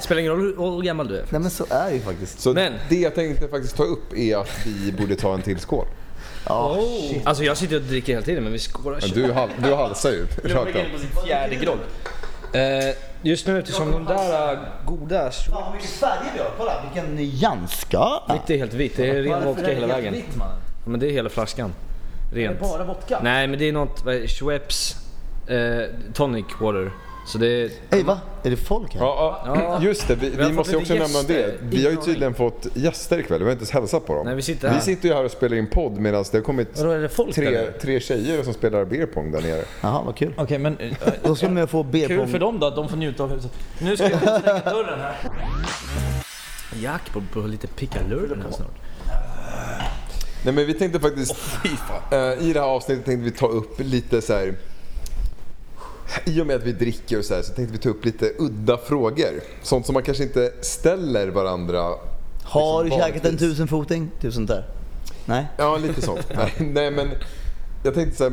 Spelar ingen roll hur hur gammal du är.
Nej men så är det ju faktiskt.
Så
Men-
det jag tänkte faktiskt ta upp är att vi borde ta en till skål.
Ja,
Oh.
Alltså jag sitter och dricker hela tiden men vi skålar
Men Du, hal- du halsar ju. Rakt av.
fjärde grogg. Eh, just nu eftersom de där eh, goda...
Fan vad mycket färger vi har, kolla vilken nyanska!
Mitt är helt vitt, det är ren vodka hela vägen. Ja, men det är hela flaskan. Rent.
Bara vodka?
Nej men det är något, vad är det? Schweppes eh, tonic water. Så det är...
Hej va? Är det folk här?
Ja, ja,
Ja.
just det. Vi,
har
vi
fått
måste ju också
lite
nämna det.
gäster.
Vi har ju tydligen fått gäster ikväll. Vi har inte ens hälsat på dem.
Nej, vi sitter här.
Vi sitter ju här och spelar in podd medan det har kommit
Vadå, är det folk där
tre,
nere?
tre tjejer som spelar beer pong där nere.
Jaha, vad kul.
Okej men... eh,
Då ska man ju få be
Kul för
på...
dem då att de får njuta av huset. Nu ska jag stänga dörren här.
Jack på, på lite pickalurven här snart.
Nej men vi tänkte faktiskt, eh, i det här avsnittet tänkte vi ta upp lite så här. I och med att vi dricker och så här så tänkte vi ta upp lite udda frågor. Sånt som man kanske inte ställer varandra.
Har du
liksom
käkat en
vanligtvis.
tusenfoting? Typ sånt där. Nej?
Ja, lite sånt. Nej, nej men jag tänkte så här,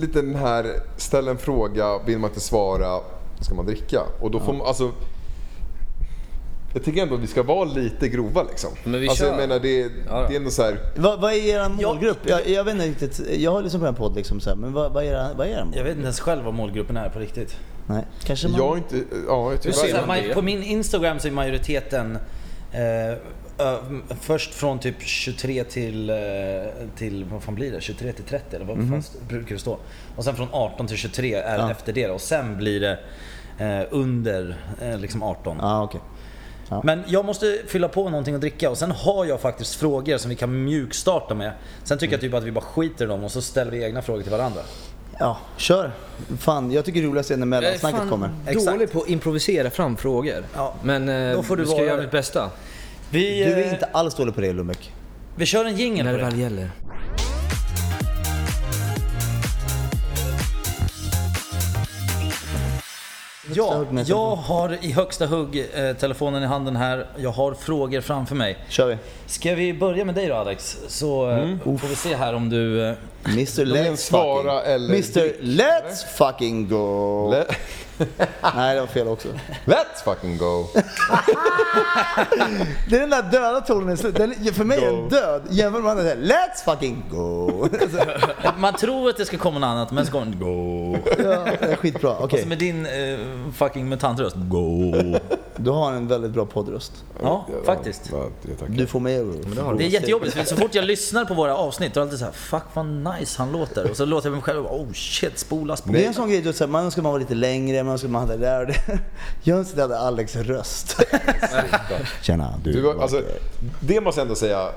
lite den här, ställ en fråga, vill man inte svara, ska man dricka? Och då får man, alltså. Jag tycker ändå att vi ska vara lite grova liksom.
Men vi
alltså jag
kör.
menar det,
ja.
det är ändå så här.
Vad, vad är er målgrupp? Jag, jag vet inte riktigt. Jag har lyssnat på en podd liksom så här, men vad, vad är er, vad är er målgrupp?
Jag vet inte ens själv vad målgruppen är på riktigt.
Nej, kanske man...
Jag är inte, ja tyvärr.
Så här,
man
maj-
det?
på min Instagram så är majoriteten eh, ö- först från typ 23 till, eh, till, vad fan blir det? 23 till 30 eller vad fan st- brukar det stå? Och sen från 18 till 23 är
Mhm. Ja.
efter det då. och sen blir det eh, under eh, liksom 18.
Ja, okej.
Men jag måste fylla på någonting att dricka och sen har jag faktiskt frågor som vi kan mjukstarta med. Sen tycker jag
Mm.
typ att vi bara skiter i dem och så ställer vi egna frågor till varandra.
Ja, kör. Fan, jag tycker det roligaste är när
Jag är
mellansnacket
fan
kommer.
dålig på att improvisera fram frågor.
Ja.
Men eh,
Då får du
vi ska
vara
göra
det.
mitt bästa.
Vi,
Du är
eh,
inte alls dålig på det Lundbäck.
vi kör en jingel
När
på
det
det.
väl gäller.
Ja,
hugg med
jag
telefonen.
har i högsta hugg eh, telefonen i handen här. Jag har frågor framför mig.
Kör vi.
Ska vi börja med dig då Alex? Så eh,
Mm.
får vi se här om du... Eh,
Mr
vill
Let's
svara
fucking...
eller-
Mr Let's fucking go!
Le-
Nej, det var fel också.
Let's fucking go!
Det är den där döda tonen i slutet. Den- För mig är
Go.
den död jämfört med den här Let's fucking go!
man tror att det ska komma något annat men så kommer den go.
Ja, det är skitbra. Okej,
Alltså med din eh, fucking mutantröst. Go.
du har en väldigt bra poddröst.
Ja, faktiskt.
Ja, det tackar.
Du får med oro.
Det är jättejobbigt för så fort jag lyssnar på våra avsnitt då är det alltid så här, fuck vad nice han låter. Och så låter jag mig själv och bara, oh shit, spola, spola.
Det är en sån grej, du vet, så här, man önskar man var lite längre, man önskar man hade det där och det. Jag önskar jag hade Alex röst. Tjena, du.
Du, var- alltså, det måste jag ändå säga,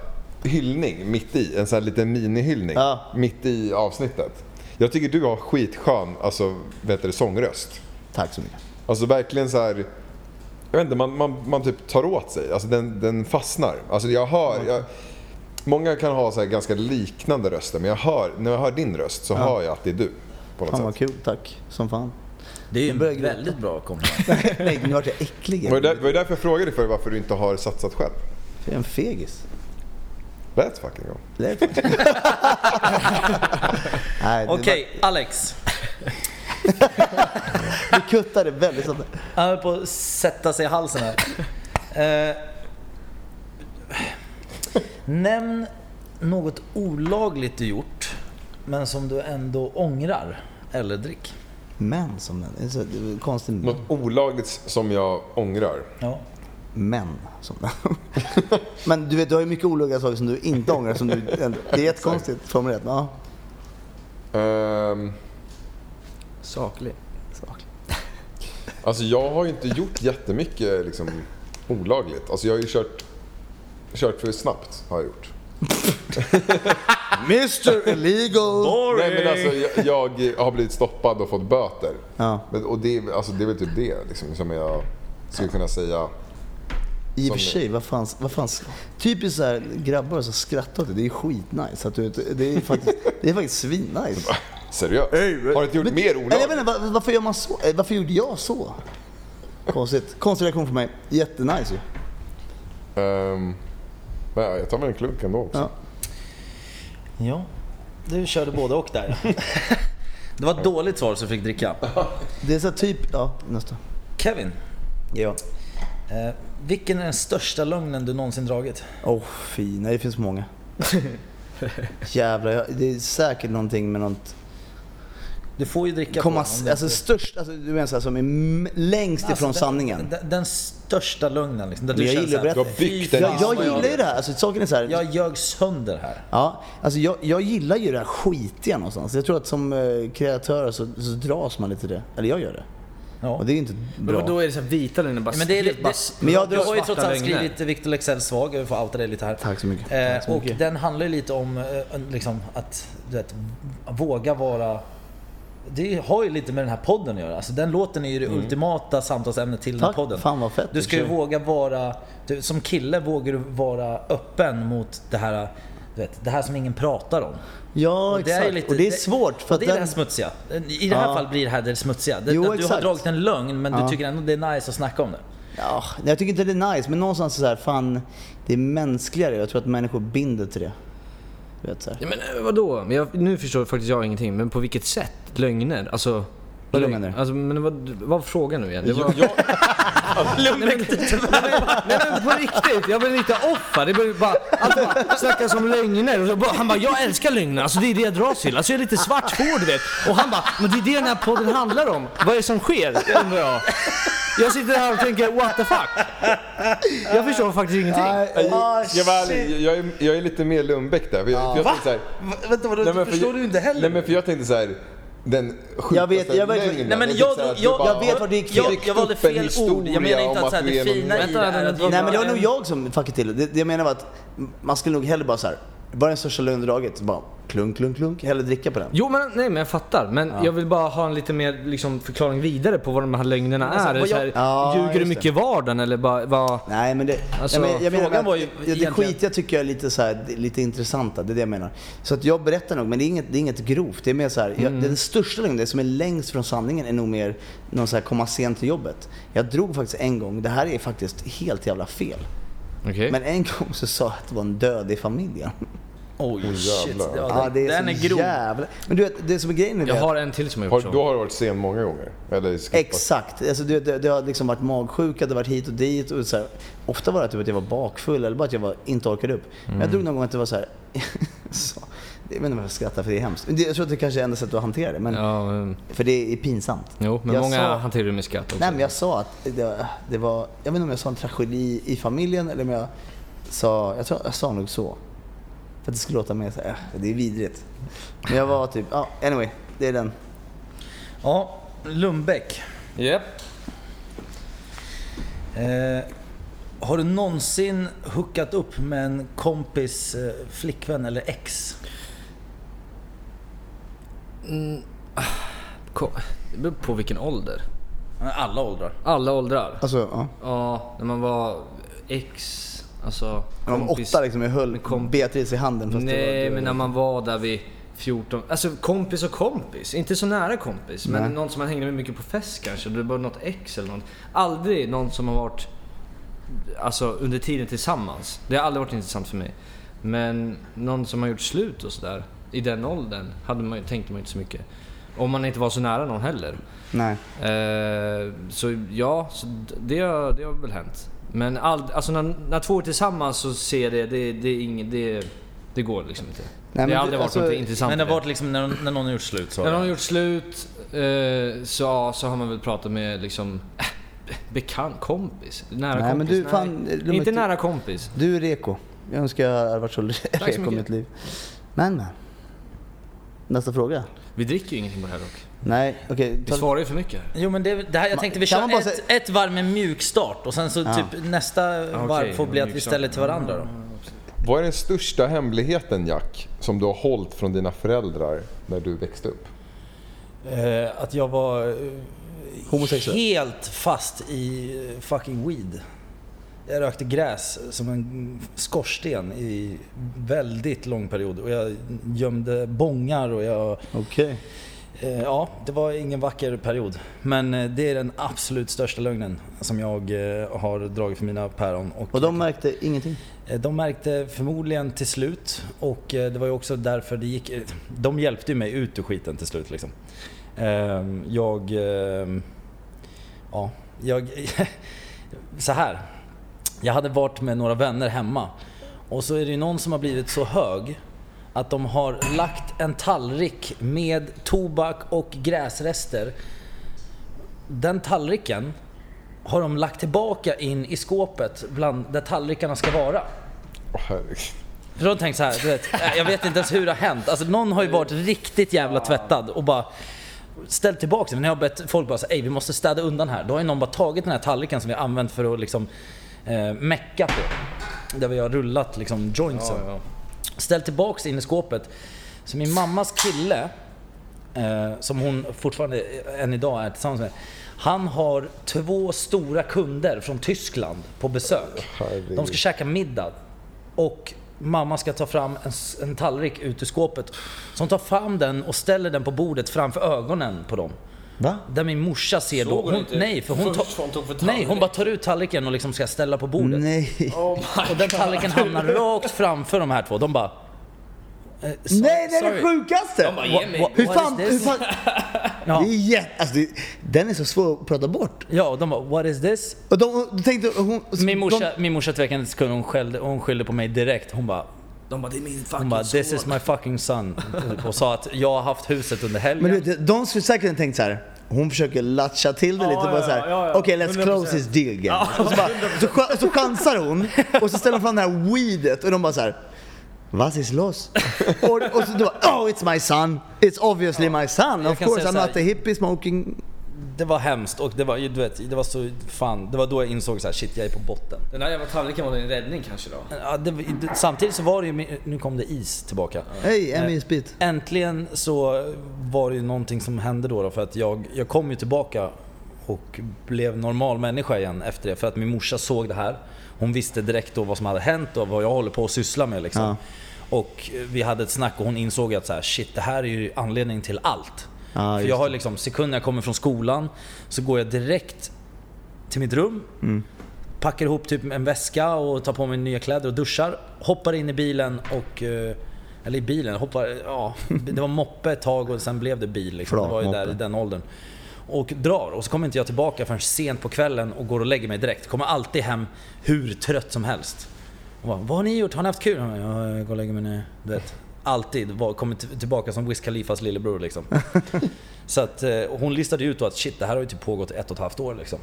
hyllning mitt i. En sån här liten minihyllning
Ja.
mitt i avsnittet. Jag tycker du har skitskön alltså, vet du, sångröst.
Tack så mycket.
Alltså verkligen så här. Jag vet inte, man, man, man typ tar åt sig. Alltså den, den fastnar. Alltså jag hör... Jag, många kan ha så här ganska liknande röster men jag hör, när jag hör din röst så hör jag att det är du. På något
Fan vad
sätt.
kul, tack som
Mm.
fan.
Det är ju en
börjar gråta.
väldigt bra komplimang.
Nej, nu vart jag äcklig.
Det var
igen.
ju där- det var ju därför jag frågade för varför du inte har satsat själv.
Jag är en fegis.
Let's fucking go.
Lät- Nej, det
Okej, Alex.
var, vi kuttade väldigt snabbt.
Han höll på att sätta sig i halsen här. Eh, nämn något olagligt du gjort, men som du ändå ångrar. Eller drick.
män som den. Det är så det är konstigt.
Något olagligt som jag ångrar.
Ja.
Män som den. Men du vet, du har ju mycket olagliga saker som du inte ångrar. Som du, det är jättekonstigt formulerat. men Ja.
Ehm,
Saklig.
alltså jag har ju inte gjort jättemycket liksom, olagligt. Alltså jag har ju kört, kört för snabbt. Har jag gjort.
Mr Illegal!
Nej, men alltså, jag, jag har blivit stoppad och fått böter.
Ja,
Men, och det, är- alltså, det är väl typ det liksom, som jag skulle kunna säga.
i
Som-
och för sig. Vad fan, vad fan, typiskt så här, grabbar som skrattar åt det. Det är ju skitnice. Att du, vet, det är faktiskt, det är faktiskt svinnice.
Seriöst? Har du inte gjort
Men-
mer
Nej, jag
olagligt?
menar, var, varför, gör man så? Eh, varför gjorde jag så? Konstigt. Konstig reaktion för mig. Jättenice ju.
Ehm, nej, jag tar väl en klunk ändå också.
Ja.
ja. Du körde både och där.
Det var ett dåligt svar som fick dricka.
Det är så här typ... Ja, nästa.
Kevin,
Ja.
eh, vilken är den största lögnen du någonsin dragit?
Åh, oh, fy. Nej, det finns många. Jävlar, jag, det är säkert någonting med något...
Du får ju dricka
Komma,
på den.
alltså störst, alltså, du menar såhär som är m- längst ifrån
Alltså, den-
sanningen.
Den, den största lögnen liksom. Där
Men jag
känner
gillar
så här,
Du har byggt
"Fy
en
jag,
fan,
Ja,
jag
vad
gillar ju det här, alltså saken är såhär.
Jag ljög sönder här.
Ja, alltså jag, jag gillar ju det här skitiga någonstans. Jag tror att som eh, kreatör så, så dras man lite till det. Eller jag gör det.
Ja.
Och det är ju inte bra.
Då, då är det så här vita lögner, bara
Men det är
helt
lite-
bara
det-
Men jag
Du
drar
har ju trots allt
lögner.
skrivit Victor Leksell svag, jag får outa dig lite här.
Tack så mycket.
Eh,
Tack så
och
mycket.
den handlar ju lite om eh, en- liksom, att du vet, våga vara... Det har ju lite med den här podden att göra. Alltså, den låten är ju det ultimata samtalsämnet till den här
Mm. Tack,
podden.
fan vad fett.
Du ska ju
Kör.
våga vara... Du, som kille vågar du vara öppen mot det här, du vet, det här som ingen pratar om.
Ja,
Och
exakt.
lite-
och det är svårt. För
och
att
det är det här smutsiga. I det här
Ja.
fallet blir det här det smutsiga. Det,
Jo,
att du har
exakt.
dragit en lögn men
Ja.
du tycker ändå det är nice att snacka om det.
ja, jag tycker inte det är nice, men någonstans så här, fan, det är mänskligare. Jag tror att människor binder till det. Du vet, så här.
Ja, men eh, vadå? Men Jag, nu förstår faktiskt jag ingenting, men på vilket sätt? Lögner? Alltså...
Vadå
lögn-
menar du?
Alltså, men vad, vad var frågan nu igen? Det var,
Jag,
nej men på riktigt, jag blev lite off här. Det blev bara, alla bara snackas om lögner och så bara, han bara “Jag älskar lögner, alltså det är det jag dras till, alltså jag är lite svartsvård du vet” Och han bara “Men det är det den här podden handlar om, vad är det som sker?” undrar jag. Jag sitter här och tänker “What the fuck?” Jag förstår faktiskt ingenting.
Nej, ah,
jag, var ärlig, jag, är, jag är lite mer Lundbäck där. För jag, för jag tänkte så här,
Vänta vadå?
Nej, men för jag- Nej men för jag tänkte så här. Den sjukaste
Jag vet- jag vet-
lögnen.
Nej men
Det är
jag,
typ så här att du
jag, jag,
bara
jag vet
har
vad det gick
jag,
tryckt
jag valde
upp en
fel ord.
historia
Jag menar
om
inte att, så här,
du är
det
en-
fina i
Vänta,
det här
vänta,
är att
vänta.
vi
Nej
bara
men det var
är
nog
en-
jag som fuckade till det. det. Jag menar bara att man skulle nog hellre bara så här. Vad är den största lögnen du dragit? Bara klunk, klunk, klunk. Hellre dricka på den.
Jo men nej men jag fattar, men jag vill bara ha en lite mer liksom, förklaring vidare på vad de här lögnerna
Alltså,
är.
vad
så
jag-
här,
Ja,
ljuger du
just
mycket i vardagen eller bara... vad-
Nej men det...
Alltså,
jag men, jag menar
frågan
att-
var ju
det, det
egentligen-
skitiga tycker jag är lite, så här, det är lite intressanta. Det är det jag menar. Så att jag berättar nog, men det är inget, det är inget grovt. Det är mer så här,
Mm.
jag, den största lögnen, det som är längst från sanningen är nog mer någon så här komma sent till jobbet. Jag drog faktiskt en gång, det här är faktiskt helt jävla fel.
Okej.
Men en gång så sa jag att det var en död i familjen.
Oj shit.
jävlar.
Ja,
Ja, det är
den är
så
grov.
jävla... Men du vet, det som är grejen är
Jag
det
har en till som jag
Har,
gjort
då
så.
har du varit sen många gånger? Eller
typ
skippat?
Exakt. Alltså, det, det, det har liksom varit magsjuka, det har varit hit och dit. Och så här. Ofta var det typ att jag var bakfull eller bara att jag var, inte orkade upp. Men
Mm.
jag drog någon gång att det var så här... så, jag vet inte varför jag skrattar för det är hemskt. Men det, jag tror att det kanske är enda sättet att hantera det. Men,
Ja, men,
För det är pinsamt.
jo, men
Jag
många
sa-
hanterar det med skratt också.
Nej men jag sa att det, det var... Jag vet inte om jag sa en tragedi i familjen eller om jag sa... Jag, tror, jag sa nog så. För att det skulle låta mer så här, "Äh, det är vidrigt. Men jag var typ, ja anyway. Det är den.
Ja, Lundbäck.
Japp.
Eh, har du någonsin hookat upp med en kompis eh, flickvän eller ex?
Ko- Det beror på vilken ålder.
Alla åldrar.
Alla åldrar.
Alltså, ja.
Ja, när man var ex, alltså
Men de åtta liksom, jag höll
Kom-
Beatrice i handen fast det
Nej,
var,
men när man var där vid 14, alltså kompis och kompis. Inte så nära kompis, men
Nej.
någon som man hängde med mycket på fest kanske. Det var något ex eller något. Aldrig någon som har varit, alltså under tiden tillsammans. Det har aldrig varit intressant för mig. Men någon som har gjort slut och sådär, i den åldern, hade man, ju- tänkte man ju inte så mycket. Om man inte var så nära någon heller.
Nej.
Eh, så ja, så d- det, har, det har väl hänt. Men all, alltså när, när två är tillsammans så ser jag det, det, det, är inget, det, det går liksom inte.
men
det
det-
har aldrig varit
alltså-
något intressant
Men det
i
har varit liksom när, när någon har gjort slut så.
När de har gjort slut, Eh, så, ja, så har man väl pratat med liksom eh, bekant, kompis, nära
Nej, men
kompis.
du, fan, de är
inte
typ-
inte-
nära kompis.
Du är reko. Jag önskar jag hade varit så reko i
mycket.
mitt liv. Men, men. Nästa fråga.
Vi dricker ju ingenting på det här dock.
Nej, okej.
Vi svarar ju för mycket.
Jo men det, det här, jag tänkte vi
kan
kör
man bara
ett,
säga-
ett varv med mjukstart och sen så typ nästa
okej,
varv får bli att vi
mjukstart.
ställer till varandra då.
Vad är den största hemligheten Jack, som du har hållit från dina föräldrar när du växte upp?
Eh, att jag var eh,
Homosexuell.
helt fast i eh, fucking weed. Jag rökte gräs som en skorsten i väldigt lång period och jag gömde bångar och jag...
Okej.
Eh, ja, det var ingen vacker period. Men eh, det är den absolut största lögnen som jag eh, har dragit för mina päron. Och,
Och de märkte ingenting?
Eh, De märkte förmodligen till slut och eh, det var ju också därför det gick... eh, De hjälpte ju mig ut ur skiten till slut liksom. Ehm, Jag... ehm, Ja, jag... Så här. Jag hade varit med några vänner hemma och så är det ju någon som har blivit så hög att de har lagt en tallrik med tobak och gräsrester. Den tallriken har de lagt tillbaka in i skåpet bland där tallrikarna ska vara.
Åh, herregud.
För de tänkte så här, du vet, äh, jag vet inte ens hur det har hänt. Alltså någon har ju varit riktigt jävla tvättad och bara ställt tillbaka det. Men jag har bett folk bara säga, ey vi måste städa undan här. Då har ju någon bara tagit den här tallriken som vi har använt för att liksom eh, mecka på. Där vi har rullat liksom jointsen. Ställt tillbaks in i skåpet. Så min mammas kille, eh, som hon fortfarande eh, än idag är tillsammans med. Han har två stora kunder från Tyskland på besök.
herregud.
De ska käka middag. Och mamma ska ta fram en, s- en tallrik ut ur skåpet. Så hon tar fram den och ställer den på bordet framför ögonen på dem.
Va?
Där min morsa ser
Såg
då.
hon
Hon,
inte
nej, för hon,
först
tar-
vad hon tog för
nej, hon
tallrik?
bara tar ut tallriken och liksom ska ställa på bordet.
Nej.
Och den tallriken hamnar rakt framför de här två. De bara... eh, sorry,
Nej, det är
sorry.
det sjukaste!
bara,
What- what-
Hur
what
fan,
is
hur
this?
fan?
Ja.
Det är jä... alltså, det... Den är så svår att prata bort.
Ja, och de bara “What is this?”
Och de, de tänkte hon...
Min morsa,
De...
min morsa tvekade inte en sekund, hon skällde, hon skyllde på mig direkt. Hon bara
De bara, det är min fucking
hon bara, “This is
son."
my fucking son” typ, och sa att jag har haft huset under helgen.
Men du, vet, de skulle säkert tänkt så här. Hon försöker latcha till det lite och bara
ja,
så här.
ja, ja.
Okej, let's close this deal again. och så, bara, så, ch- så chansar hon och så ställer hon fram det här weedet och de bara så här. What is loss? och, och så då bara, oh it's my son. It's obviously my son. Of
kan
course
säga så
I'm
här-
not a hippie smoking.
Det var hemskt och det var, ju- du vet, det var så fan, det var då jag insåg så här, shit jag är på botten.
Den där jävla tallriken var din räddning kanske då?
Ja, det, det- samtidigt så var det ju, min- nu kom det is tillbaka.
Hej, en isbit.
Äntligen så var det ju någonting som hände då, då för att jag, jag kom ju tillbaka och blev normal människa igen efter det. För att min morsa såg det här. Hon visste direkt då vad som hade hänt och vad jag håller på att syssla med liksom.
Ja.
Och eh, vi hade ett snack och hon insåg att så här, shit det här är ju anledningen till allt.
Ja,
För
just
jag har liksom, sekunden jag kommer från skolan så går jag direkt till mitt rum. Packar ihop typ en väska och tar på mig nya kläder och duschar. Hoppar in i bilen och... eh, Eller i bilen, hoppar... Ja, det var moppe ett tag och sen blev det bil. Liksom. Det var ju
Flak,
där i
moppe.
den åldern. Och drar och så kommer inte jag tillbaka förrän sent på kvällen och går och lägger mig direkt. Kommer alltid hem hur trött som helst. Och bara, Vad har ni gjort? Har ni haft kul? Jag bara, "Ja, jag går och lägger mig nu. Du vet. Alltid. Var, kommer t- tillbaka som Wiz Khalifas lillebror liksom. Så att, eh, och hon listade ut då att shit, det här har ju typ pågått ett och ett halvt år liksom.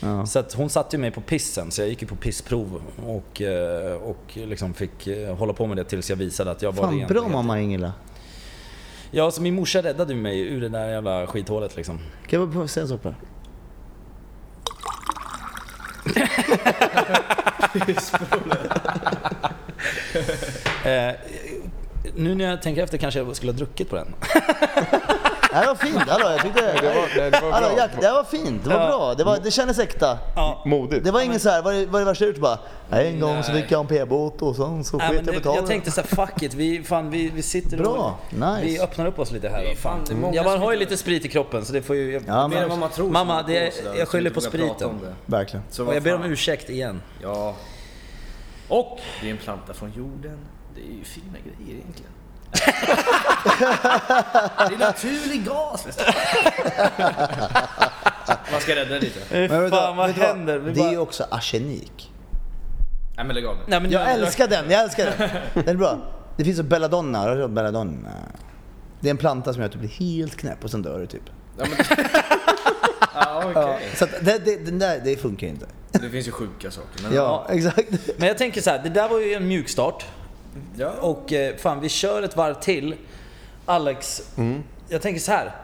Ja.
Så att hon satte ju mig på pissen, så jag gick ju på pissprov och, eh, och liksom fick eh, hålla på med det tills jag visade att jag var det
Fan bra
egentligen.
mamma Ingela.
Ja, så min morsa räddade ju mig ur det där jävla skithålet liksom.
Kan jag bara få säga en sak Per?
Eh, nu när jag tänker efter kanske jag skulle ha druckit på den.
Det här var fint, hallå jag tyckte...
Det var, nej, det var
Hallå,
bra.
Jack, det här var fint, det var bra, det, var, det kändes äkta.
Modigt.
Det var ingen så här, var det, var det värsta ut bara, nej, en gång så fick jag en p-bot och sen så
Nej, men
sket jag
det,
betala.
jag tänkte såhär, fuck it, vi, fan, vi, vi sitter
Bra,
och
nice.
vi öppnar upp oss lite här.
Det är
Då.
fan, det är många
Jag bara
som
har ju
inte-
lite sprit i kroppen så det får ju... Jag,
Ja,
Mer än
men,
vad man tror.
Mamma,
som håller
det-
på sådär,
jag
som
skyller på
inte vågar prata
spriten.
om det.
verkligen.
Så
och
vad
jag ber om
fan.
ursäkt igen.
Ja. Och det är en planta från jorden. Det är ju fina grejer egentligen. det är naturlig gas! vet du. Man ska rädda det lite.
Men vet du
Fan, vad
vet du vad?
händer? Vi
Det är
bara-
ju också arsenik.
Nej men lägg av nu.
Nej, men nu-
Jag älskar den, jag älskar den. Den är bra. Det finns så belladonna, har du hört belladonna? Det är en planta som gör att du blir helt knäpp och sen dör du typ.
Ja,
Ja, så att det, det, den där, det funkar ju inte.
Det finns ju sjuka saker. Men
Ja, exakt.
Men jag tänker så här, det där var ju en mjuk start.
Ja.
Och eh, fan, vi kör ett varv till. Alex,
Mm.
jag tänker så här.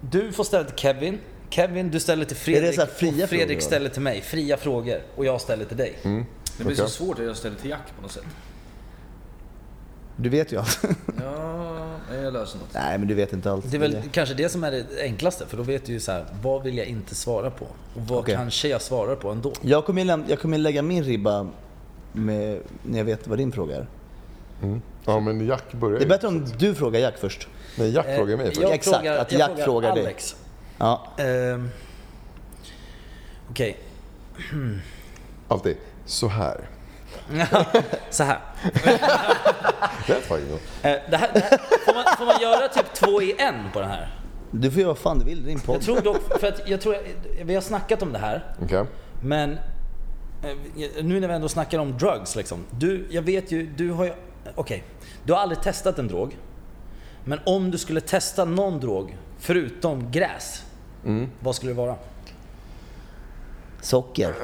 Du får ställa till Kevin. Kevin, du ställer till Fredrik.
Är det så här fria
och Fredrik
frågor, Mm. va?
ställer till mig. Fria frågor. Och jag ställer till dig.
det blir så
Okej.
svårt att jag ställer till Jack på något sätt.
Du vet ju allt.
Ja, nej, jag löser något.
Nej, men du vet inte allt.
Det är väl kanske det som är det enklaste. För då vet du ju så här, vad vill jag inte svara på? Och vad
Okej.
kanske jag svarar på ändå?
Jag kommer, ju läm- jag kommer lägga min ribba med, när jag vet vad din fråga är.
Ja, men Jack börjar
Det
ju.
är bättre om du frågar Jack först.
Nej, Jack frågar mig
Eh,
först.
jag
Exakt, att Jack
jag
frågar dig.
Alex.
Ja.
Ehm, Okej,
Alltid. Så här.
så här.
Rätt var ju.
Eh, Det här, det här får, man, får man göra typ två i en på den här?
Du får göra vad fan du vill i din
Jag
podd.
tror dock, för att jag tror, vi har snackat om det här,
Okej.
men eh, nu när vi ändå snackar om drugs liksom. Du, jag vet ju, du har ju, okej, du har aldrig testat en drog. Men om du skulle testa någon drog, förutom gräs,
Mm.
vad skulle det vara?
Socker.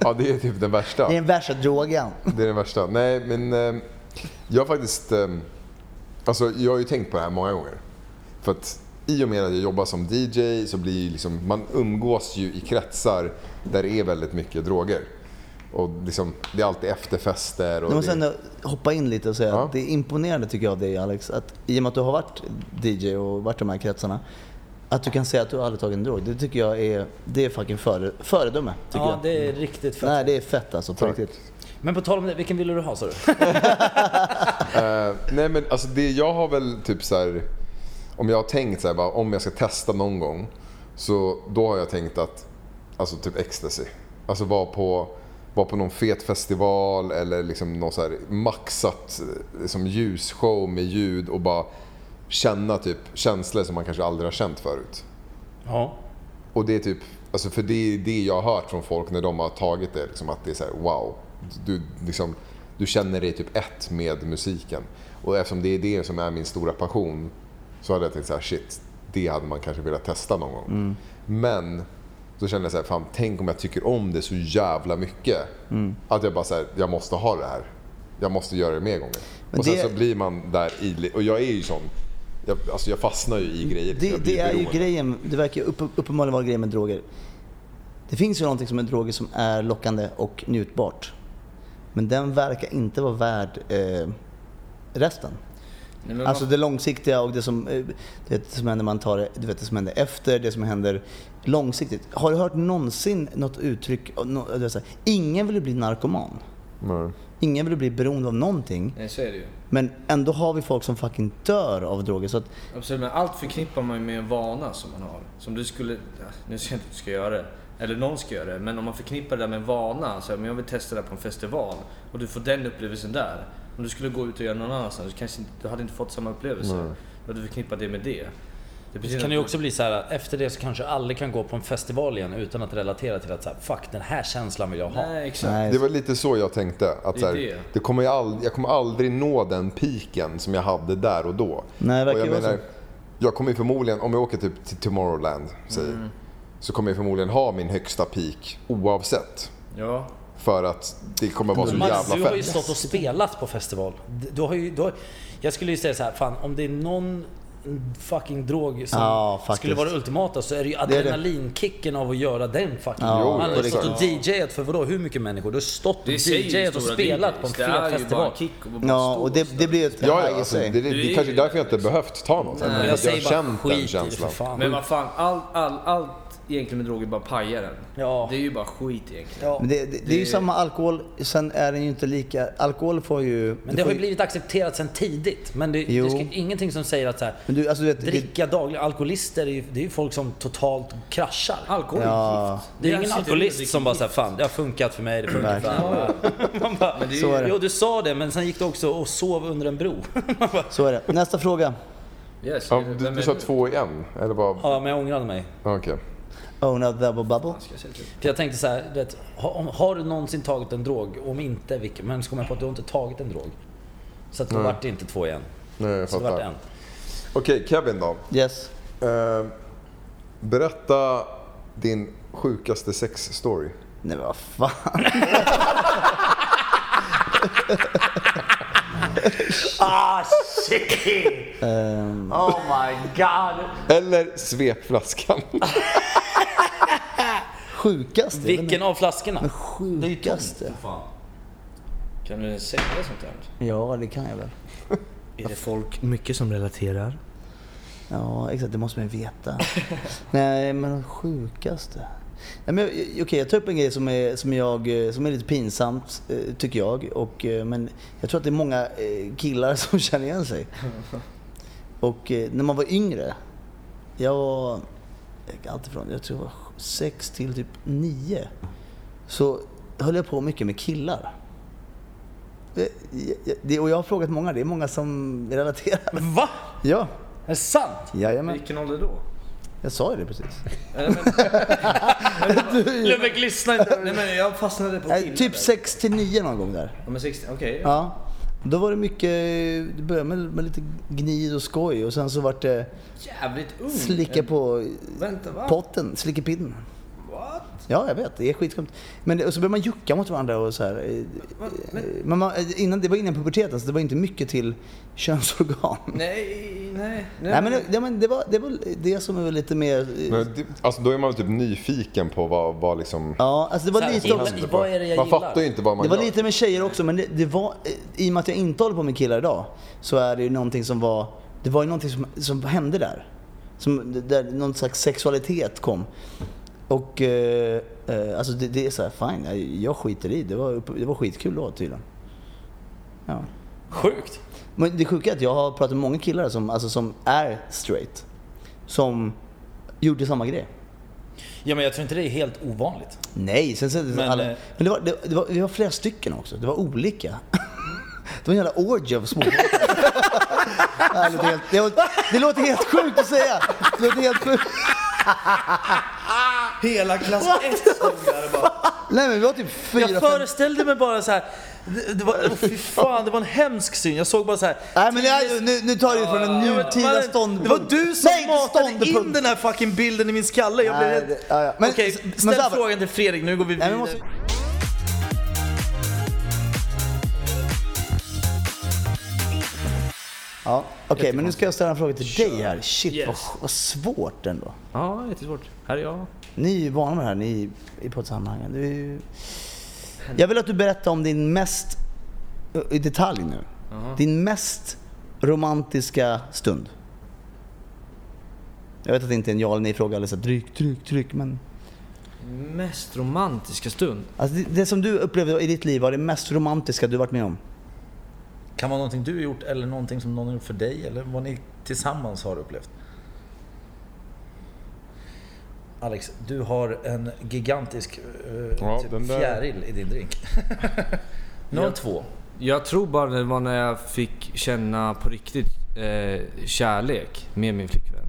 Ja, det är typ den värsta.
Det är den värsta drogen.
Det är den värsta. Nej, men eh, jag har faktiskt... Eh, alltså, jag har ju tänkt på det här många gånger. För att i och med att jag jobbar som DJ så blir ju liksom... Man umgås ju i kretsar där det är väldigt mycket droger. Och liksom, det är alltid efterfester och...
Jag måste
det...
ändå hoppa in lite och säga
Ja.
att det är imponerande tycker jag av dig Alex, att i och med att du har varit DJ och varit i de här kretsarna, att du kan säga att du aldrig tagit en drog. Det tycker jag är, det är fucking före, föredöme. Tycker
Ja,
jag.
det är riktigt fett.
Nej, det är fett alltså på
Tack.
riktigt.
Men på tal om det, vilken ville du ha sa du?
Eh, nej men alltså det jag har väl typ så här. Om jag har tänkt så här, bara, om jag ska testa någon gång. Så då har jag tänkt att, alltså typ ecstasy. Alltså vara på, var på någon fet festival eller liksom någon så här maxat eh, liksom ljusshow med ljud och bara känna typ känslor som man kanske aldrig har känt förut.
Ja.
Och det är typ, alltså för det är det jag har hört från folk när de har tagit det. Liksom, att det är så här, wow. Du, liksom, du känner dig typ ett med musiken. Och eftersom det är det som är min stora passion så hade jag tänkt så här, shit, det hade man kanske velat testa någon gång.
Mm.
Men då kände jag så här, fan tänk om jag tycker om det så jävla mycket.
Mm.
Att jag bara så här, jag måste ha det här. Jag måste göra det mer gånger.
Men
och
det-
sen så blir man där i, och jag är ju sån. Jag, alltså jag fastnar ju i grejer.
Det,
jag
det
blir
är ju
beroende.
grejen, det verkar ju upp, uppenbarligen vara grejen med droger. Det finns ju någonting som är droger som är lockande och njutbart. Men den verkar inte vara värd eh, resten.
Nej, men
Alltså det långsiktiga och det som, eh, det som händer man tar det, du vet det som händer efter, det som händer långsiktigt. Har du hört någonsin något uttryck, nå- det är så här, ingen vill ju bli narkoman.
Nej.
Ingen vill ju bli beroende av någonting.
nej, så är det ju.
Men ändå har vi folk som fucking dör av droger. Så att,
Absolut, Alltså, men allt förknippar man ju med en vana som man har. Som du skulle... ja, Nu säger jag inte att du ska göra det. Eller någon ska göra det. Men om man förknippar det där med en vana. Så här, men jag vill testa det här på en festival. Och du får den upplevelsen där. Om du skulle gå ut och göra någon annanstans. Du, kanske inte, du hade inte fått samma upplevelse. Och du förknippar det med det. Det
Det
betyder
kan
att-
ju också bli så här, efter det så kanske aldrig kan gå på en festival igen utan att relatera till att så här, fuck den här känslan vill jag ha.
Nej, exakt.
nej,
Det var lite så jag tänkte. Att så
Det är det.
här, det kommer jag, ald- jag kommer aldrig nå den piken som jag hade där och då.
Nej, det verkar
och
ju
jag,
vara
alltså-
så.
jag kommer ju förmodligen, om jag åker typ till Tomorrowland, säger,
Mm.
så kommer jag förmodligen ha min högsta peak oavsett.
Ja.
För att det kommer vara så
Max, du
Alltså, jävla
har ju
fett.
stått och spelat på festival. Du har ju, du har, jag skulle ju säga så här, fan om det är någon fucking drog som
Ja, faktiskt.
skulle vara det ultimata så är det ju
det.
adrenalinkicken av att göra den fucking
Ja,
Man har
jo,
ju stått och
exakt.
DJat för vadå, hur mycket människor? Du har stått och
Det säger ju
DJat och
stora
spelat
DJs.
på en
Det är
fet
ju bara
festival.
en kick och bara
ja,
stå
och det,
ställa
det blir ju ett
Ja,
high
ja,
i
alltså, det,
sig.
det,
Du är
det
ju-
kanske är därför jag inte behövt ta något.
Nej.
Nej,
Jag
jag
säger
har
bara
känt den
skit i det för
känslan.
fan.
Men vad fan, all, all, allt egentligen med droger bara pajar den.
Ja.
Det är ju bara skit egentligen.
Ja.
Men det, det, det är ju samma alkohol, sen är den ju inte lika... Alkohol får ju...
Men det har ju blivit accepterat sen tidigt. Men det, det
Jo.
är ju ingenting som säger att så här,
Men du, alltså du vet, det,
dricka dagligen. Alkoholister är ju, det är ju folk som totalt kraschar.
Alkohol är
Ja.
gift.
Det är
Jag
ingen
sitter
alkoholist
och
som bara såhär, fan det har funkat för mig, det funkar för andra. Man bara,
det är
Så är det.
Jo du sa det men sen gick du också och sov under en bro. Man bara,
så är det. Nästa fråga.
dricker- Yes,
Ja,
vem
du,
är
du sa två i en, eller vad?
ja men jag ångrade mig.
Okej.
Own up double bubble.
Ska jag säga till?
För jag tänkte såhär, du vet, ha- om- har du någonsin tagit en drog? Om inte, vilken? Men så kom jag på att du har inte tagit en drog. Så att då vart det inte två igen.
Nej, jag
Så det vart
fattar.
en.
Okej, Kevin då.
Yes.
Eh, berätta din sjukaste sexstory.
Nej men vad fan.
Ah, shit! Oh my god!
Eller svepflaskan.
Sjukaste?
Vilken av flaskorna?
Sjukaste?
Kan du säga sånt här?
Ja, det kan jag väl.
Är det folk mycket som relaterar?
Ja, exakt. Det måste man ju veta. Nej, men de sjukaste. Nej, men, jag- jag- okej, jag tar upp en grej som är, som jag, eh, som är lite pinsamt, eh, tycker jag. Och, eh, men jag tror att det är många eh, killar som känner igen sig. Och eh, när man var yngre, jag var alltifrån, jag tror jag var sex till typ nio, så höll jag på mycket med killar. Eh, jag- jag- Och jag har frågat många, det är många som relaterar.
Va?
Ja,
Är det sant?
jajamän.
Vilken ålder då?
Jag sa ju det precis.
Lubbeck lyssna inte.
Nej men jag fastnade på
Nej, typ 6 till 9 någon gång där.
Ja, men 60, okej.
Ja. Då var det mycket, det började med, med lite gnid och skoj och sen så vart det
Jävligt ung.
slicka på
Vänta, Mm, va?
potten, slickepinnen.
What?
Ja, jag vet. Det är skitskumt. Men det, och så började man jucka mot varandra och så här. eh, eh, Men man, eh, innan, det var innan puberteten så det var inte mycket till könsorgan. Nej,
Nej, nej.
men, det, ja, men det, var, det var det som var lite mer... eh,
Men det- Alltså, då är man typ nyfiken på vad, vad liksom...
Ja, alltså det var
Så här,
lite
innan-
också...
Men vad är det jag
man
gillar?
fattar ju inte vad man
Det var
gör.
lite med tjejer också, men det, det var, eh, i och med att jag inte håller på med killar idag, så är det ju någonting som var, det var ju någonting som, som hände där. Som, där någon slags sexualitet kom. Och, eh, eh, alltså det, det är så här, fine, jag, jag skiter i det. Var, upp- det var skitkul då tydligen. Ja.
Sjukt.
Men det sjuka är att jag har pratat med många killar som, alltså, som är straight. Som gjorde samma grej.
Ja men jag tror inte det är helt ovanligt.
Nej, sen så men,
Men,
alla,
eh,
men det, var, det, det var, vi var flera stycken också. Det var olika. Det var en jävla orgy av småpojkar. det, låter helt- det, låter- det låter helt sjukt att säga. Det låter helt sjukt.
Hela klass 1 bara.
Nej men vi var typ fyra,
Jag
fem...
föreställde mig bara så här. Det, det var, oh, fy fan, det var en hemsk syn. Jag såg bara så här.
Nej men det, nu, nu tar du det från en
Man-
nutida ståndpunkt.
Det var du som
Nej, inte
matade in
ståndpunkt.
den här fucking bilden i min skalle. Jag
Nej,
blev helt...
det- ja, ja. Men-
Okej,
men
ställ
så här-
frågan till Fredrik, nu går vi
Nej,
vidare.
men måste... Ja, okej men nu ska jag ställa en fråga till dig här. Shit vad, vad svårt ändå.
Ja, jättesvårt. Här är jag.
Ni är ju vana med det här ni i poddsammanhangen. Det är ju... Jag vill att du berättar om din mest, ö, i detalj nu, din mest romantiska stund. Jag vet att det inte är en ja eller nej-fråga eller så här, dryck, dryck, dryck men...
Mest romantiska stund.
Alltså det, det som du upplevde i ditt liv var det mest romantiska du varit med om.
Kan vara någonting du har gjort eller någonting som någon har gjort för dig eller vad ni tillsammans har upplevt? Alex, du har en gigantisk eh,
Ja,
typ
den där-
fjäril i din drink. nu har du två.
Jag tror bara det var när jag fick känna på riktigt eh, kärlek med min flickvän.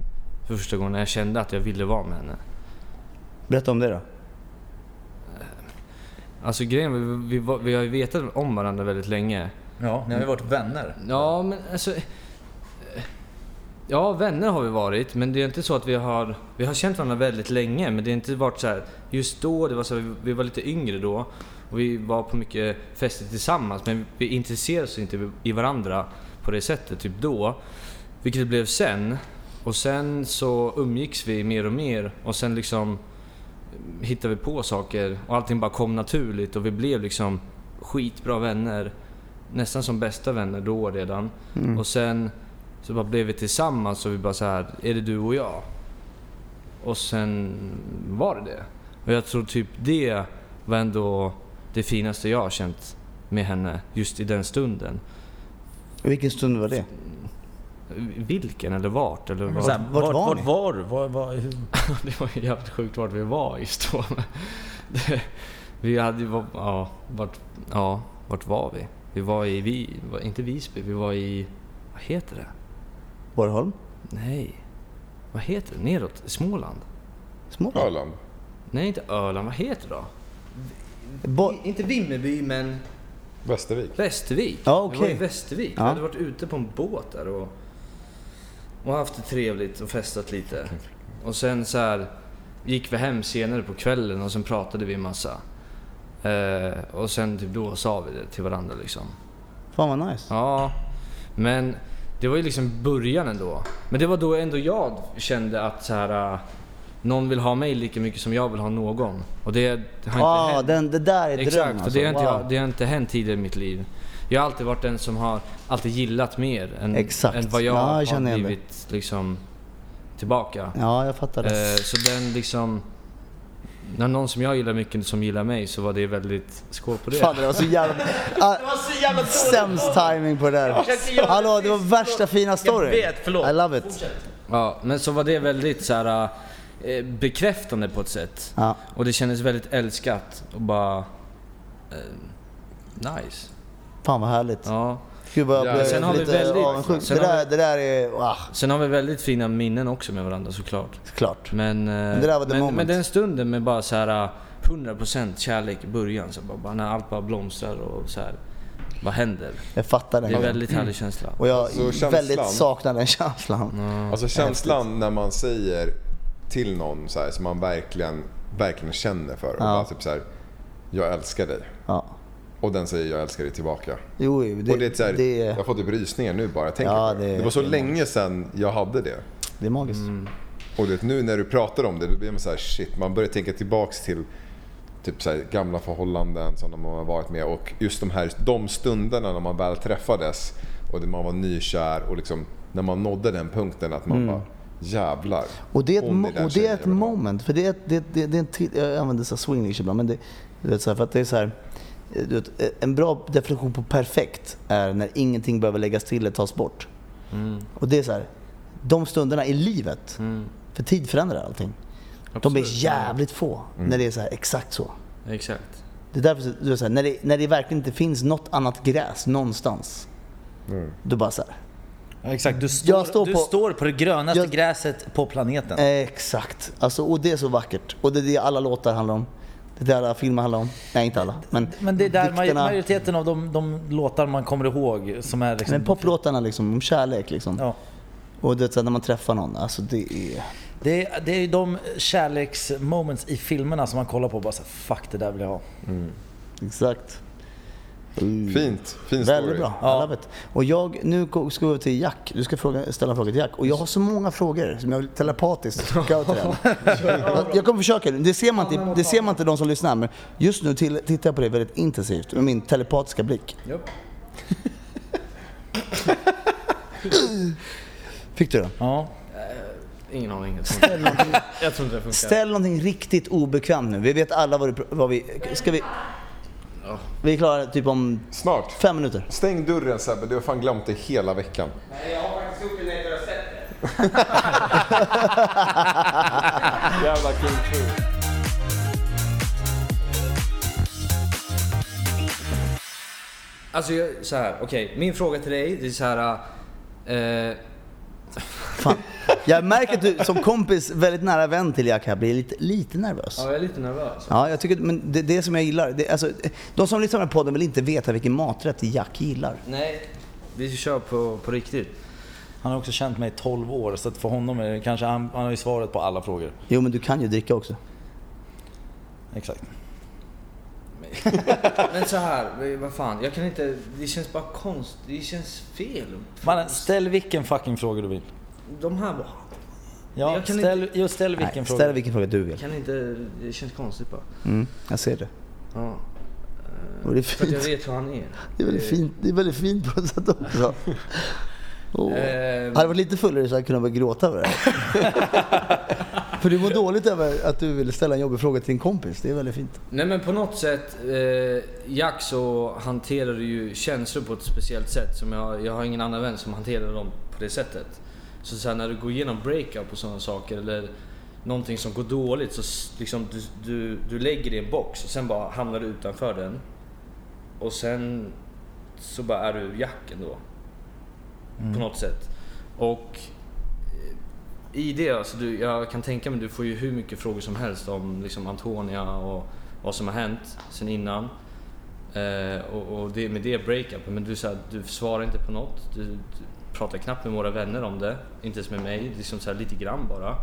För första gången när jag kände att jag ville vara med henne.
Berätta om det då.
Alltså grejen var, vi, vi, var- vi har ju vetat om varandra väldigt länge.
Ja, ni har ju varit vänner.
Ja, men alltså... eh, Ja, vänner har vi varit, men det är inte så att vi har... Vi har känt varandra väldigt länge, men det har inte varit så här... Just då, det var så här, vi- vi var lite yngre då och vi var på mycket fester tillsammans, men vi intresserade oss inte i varandra på det sättet typ då. Vilket det blev sen. Och sen så umgicks vi mer och mer och sen liksom hittade vi på saker och allting bara kom naturligt och vi blev liksom skitbra vänner. Nästan som bästa vänner då redan. Och sen så bara blev vi tillsammans och vi bara så här, är det du och jag? Och sen var det det. Och jag tror typ det var ändå det finaste jag har känt med henne just i den stunden.
Vilken stund var det?
Vilken eller vart eller vad?
Så här,
vart var ni?
vart var du? Var, var, hur?
Det var ju jävligt sjukt vart vi var just då. Det- Vi hade ju, var- ja, vart, ja, vart var vi? Vi var i, vi, var- inte Visby, vi var i, vad heter det?
Borgholm?
Nej, vad heter det? Neråt? Småland?
Småland?
Öland.
Nej, inte Öland, vad heter det då?
Bo-
inte Vimmerby, men
Västervik.
Västervik.
Ja,
Vi var i
okej.
Västervik.
Ja.
Vi hade varit ute på en båt där och... och haft det trevligt och festat lite. Och sen så här gick vi hem senare på kvällen och sen pratade vi massa. Eh, och sen typ då sa vi det till varandra liksom.
Fan vad nice.
Ja, men det var ju liksom början ändå. Men det var då ändå jag kände att så här, eh, någon vill ha mig lika mycket som jag vill ha någon. Och det har inte
Ja,
hänt.
Ah, den, det där är dröm
Exakt, och
alltså.
det har, inte
Wow.
jag, det har inte hänt tidigare i mitt liv. Jag har alltid varit den som har alltid gillat mer än,
Exakt.
än vad jag
Ja, jag
har
känner igen det.
blivit liksom, tillbaka.
Ja, jag fattar det.
Eh, så den liksom... När någon som jag gillar mycket som gillar mig så var det väldigt... Skål på det.
Fan det var så jävla... Ah, sämst timing på det där. Hallå, det var värsta fina story.
vet, förlåt.
I love it.
Ja, men så var det väldigt så här, eh, bekräftande på ett sätt.
Ja.
Och det kändes väldigt älskat och bara... Eh, nice.
Fan vad härligt.
Ja.
Gud vad
Ja,
jag
sen har
blev
vi
lite
väldigt-
avundsjuk. Det
sen har
där, det där är... Ah,
Sen har vi väldigt fina minnen också med varandra såklart.
såklart.
Men, eh,
det där var the
men,
moment.
men den stunden med bara så här eh, 100% kärlek i början, så bara, bara, när allt bara blomstrar och så här. Vad händer?
Jag fattar
Det är en
den.
väldigt härlig känsla.
Mm. Och jag
Så Alltså, känslan-
väldigt saknar den känslan.
Alltså känslan när man säger till någon så här, som man verkligen, verkligen känner för. Och bara typ så här, jag älskar dig.
Ja.
Och den säger jag älskar dig tillbaka.
Jo, jo,
och det är så här,
det, är-
Jag får typ rysningar nu bara jag tänker
Ja,
på det.
det är-
Det var så
det är
länge sedan jag hade det.
det är magiskt.
Mm.
Och du vet, nu när du pratar om det, då blir man så här shit, man börjar tänka tillbaks till typ så här, gamla förhållanden som man har varit med och just de här de stunderna när man väl träffades och det man var nykär och liksom när man nådde den punkten att man bara jävlar.
Mm. Och det är ett,
hon
mo-
den
och det
tjejen
är
jag
ett
vill ha."
moment. För det är, ett- det, det, det är en tid, jag använder så här swinglish ibland, men det, du vet, så här, för att det är så här, eh, du vet, en bra definition på perfekt är när ingenting behöver läggas till eller tas bort.
Mm,
Och det är så här, de stunderna i livet, för tid förändrar allting. De blir
Absolut.
jävligt få när det är så här, exakt så.
Exakt.
Det är därför så- du vet, så här, när, det, när det verkligen inte finns något annat gräs någonstans. Då bara så här,
Ja, exakt, du står,
Jag står
du
på-
står på det grönaste
Jag- Eh,
gräset på planeten.
Exakt. Alltså, och det är så vackert. Och det är det alla låtar handlar om. Det är det alla filmer handlar om. Nej, inte alla. Men,
Men det är där maj-
dikterna.
majoriteten av de, de låtar man kommer ihåg som är liksom...
Men poplåtarna liksom, om kärlek liksom.
ja.
Och det, är så här, när man träffar någon, alltså det är...
Det är, det är ju de kärleksmoments i filmerna som man kollar på och bara så här, fuck det där vill jag ha.
Exakt.
Fint, fin story.
Väldigt bra. I love it. Och jag, nu ko- ska vi över till Jack. Du ska fråga, ställa en fråga till Jack. Och jag har så många frågor som jag vill telepatiskt skicka över till dig. Jag kommer försöka. Det ser man inte, det ser man inte de som lyssnar. Men just nu till, tittar jag på dig väldigt intensivt med min telepatiska blick. Fick du den?
Ja.
Ingen aning. Jag tror inte, jag tror inte det funkar.
Ställ någonting riktigt obekvämt nu. Vi vet alla vad, du, vad vi... Ska vi... Vi är klara typ om
Snart.
fem minuter.
Stäng dörren Sebbe, du har fan glömt det hela veckan.
Jag har faktiskt gjort det när jag har sett det.
Jävla kung fu.
Alltså jag, så här, okej. Min fråga till dig, det är så här. Eh,
Fan. Jag märker att du som kompis, väldigt nära vän till Jack här, blir lite, lite nervös.
ja, jag är lite nervös.
Ja, jag tycker, men det, det som jag gillar, det, alltså, de som lyssnar på den här podden vill inte veta vilken maträtt Jack gillar.
Nej, vi kör på, på riktigt.
Han har också känt mig i 12 år så att för honom är det kanske, han, han har ju svaret på alla frågor.
Jo, men du kan ju dricka också.
Exakt.
Men så här, vad fan. Jag kan inte, det känns bara konst. Det känns fel.
Mannen, ställ vilken fucking fråga du vill.
De här bara,
Ja,
Jag kan
ställ, jo, ställ vilken
Nej,
fråga.
ställ vilken fråga du
jag
vill.
kan inte, det känns konstigt bara.
Mm, jag ser det.
Ja.
Och det är
Eh, För att jag
fint.
vet hur han är.
Det är
Eh.
väldigt fint, det är väldigt fint på ett sätt också. Oh.
Eh,
Hade jag varit lite fullare så hade jag kunnat börja gråta över det här. För du mår dåligt över att du ville ställa en jobbig fråga till din kompis. Det är väldigt fint.
Nej men på något sätt, eh, Jack så hanterar ju känslor på ett speciellt sätt. Som jag, jag har ingen annan vän som hanterar dem på det sättet. Så, så här, när du går igenom breakup och sådana saker eller någonting som går dåligt så s- liksom du, du, du lägger det i en box och sen bara hamnar du utanför den. Och sen så bara är du Jack ändå.
Mm.
På något sätt. Och i det, alltså du, jag kan tänka mig, du får ju hur mycket frågor som helst om liksom Antonia och vad som har hänt sen innan. Eh, och och det, med det breakupet, men du, så här, du svarar inte på något. Du, du, pratar knappt med våra vänner om det. Inte ens med mig, liksom så här lite grann bara.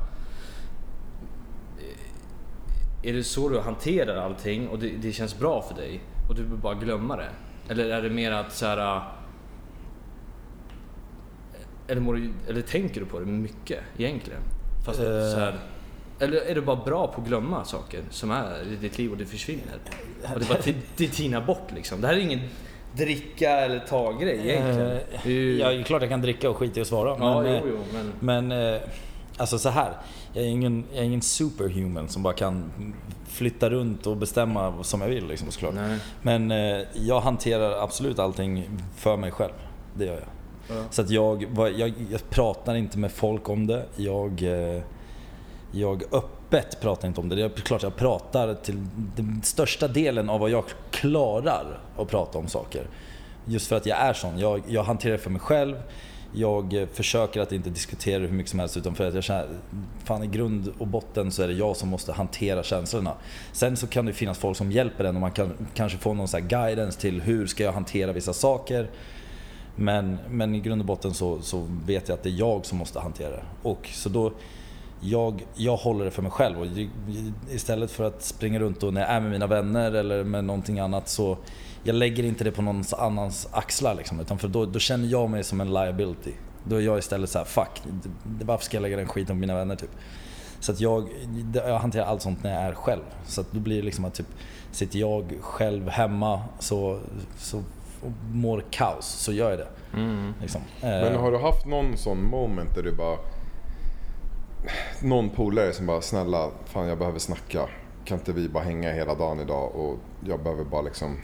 Eh, Är det så du hanterar allting och det, det känns bra för dig och du vill bara glömma det? Eller är det mer att så här... eh, Eller, mår du, eller tänker du på det mycket egentligen? Fast så här,
Eh.
eller är du bara bra på att glömma saker som är i ditt liv och det försvinner? Och det, bara, det, det tinar bort liksom. Det här är ingen dricka eller ta-grej egentligen. Det är ju-
Eh, Ja, det är klart jag kan dricka och skita i att svara.
Ja,
men,
jo,
eh,
jo, men-
men eh, alltså så här. Jag är, ingen, jag är ingen superhuman som bara kan flytta runt och bestämma som jag vill liksom, såklart.
Nej.
Men eh, jag hanterar absolut allting för mig själv. Det gör jag. Så att jag, vad- jag, jag pratar inte med folk om det. Jag, eh, jag öppet pratar inte om det. Det är klart jag pratar till den största delen av vad jag klarar att prata om saker. Just för att jag är sån. Jag, jag hanterar det för mig själv. Jag eh, försöker att inte diskutera det hur mycket som helst utan för att jag känner, fan i grund och botten så är det jag som måste hantera känslorna. Sen så kan det finnas folk som hjälper en och man kan kanske få någon så här guidance till hur ska jag hantera vissa saker. Men, men i grund och botten så, så vet jag att det är jag som måste hantera det. Och så då, jag, jag håller det för mig själv. Och ju- ju- istället för att springa runt och när jag är med mina vänner eller med någonting annat så jag lägger inte det på någon annans axlar. Liksom, utan för då, då känner jag mig som en liability. Då är jag istället så här, fuck, d- varför ska jag lägga den skiten på mina vänner? Typ. Så att jag, det- jag hanterar allt sånt när jag är själv. Så att då blir det liksom att typ, sitter jag själv hemma så, så och mår kaos, så gör jag det.
Mm.
Liksom.
Men
Eh,
har du haft någon sån moment där du bara... Någon polare som bara “snälla, fan jag behöver snacka. Kan inte vi bara hänga hela dagen idag och jag behöver bara liksom...”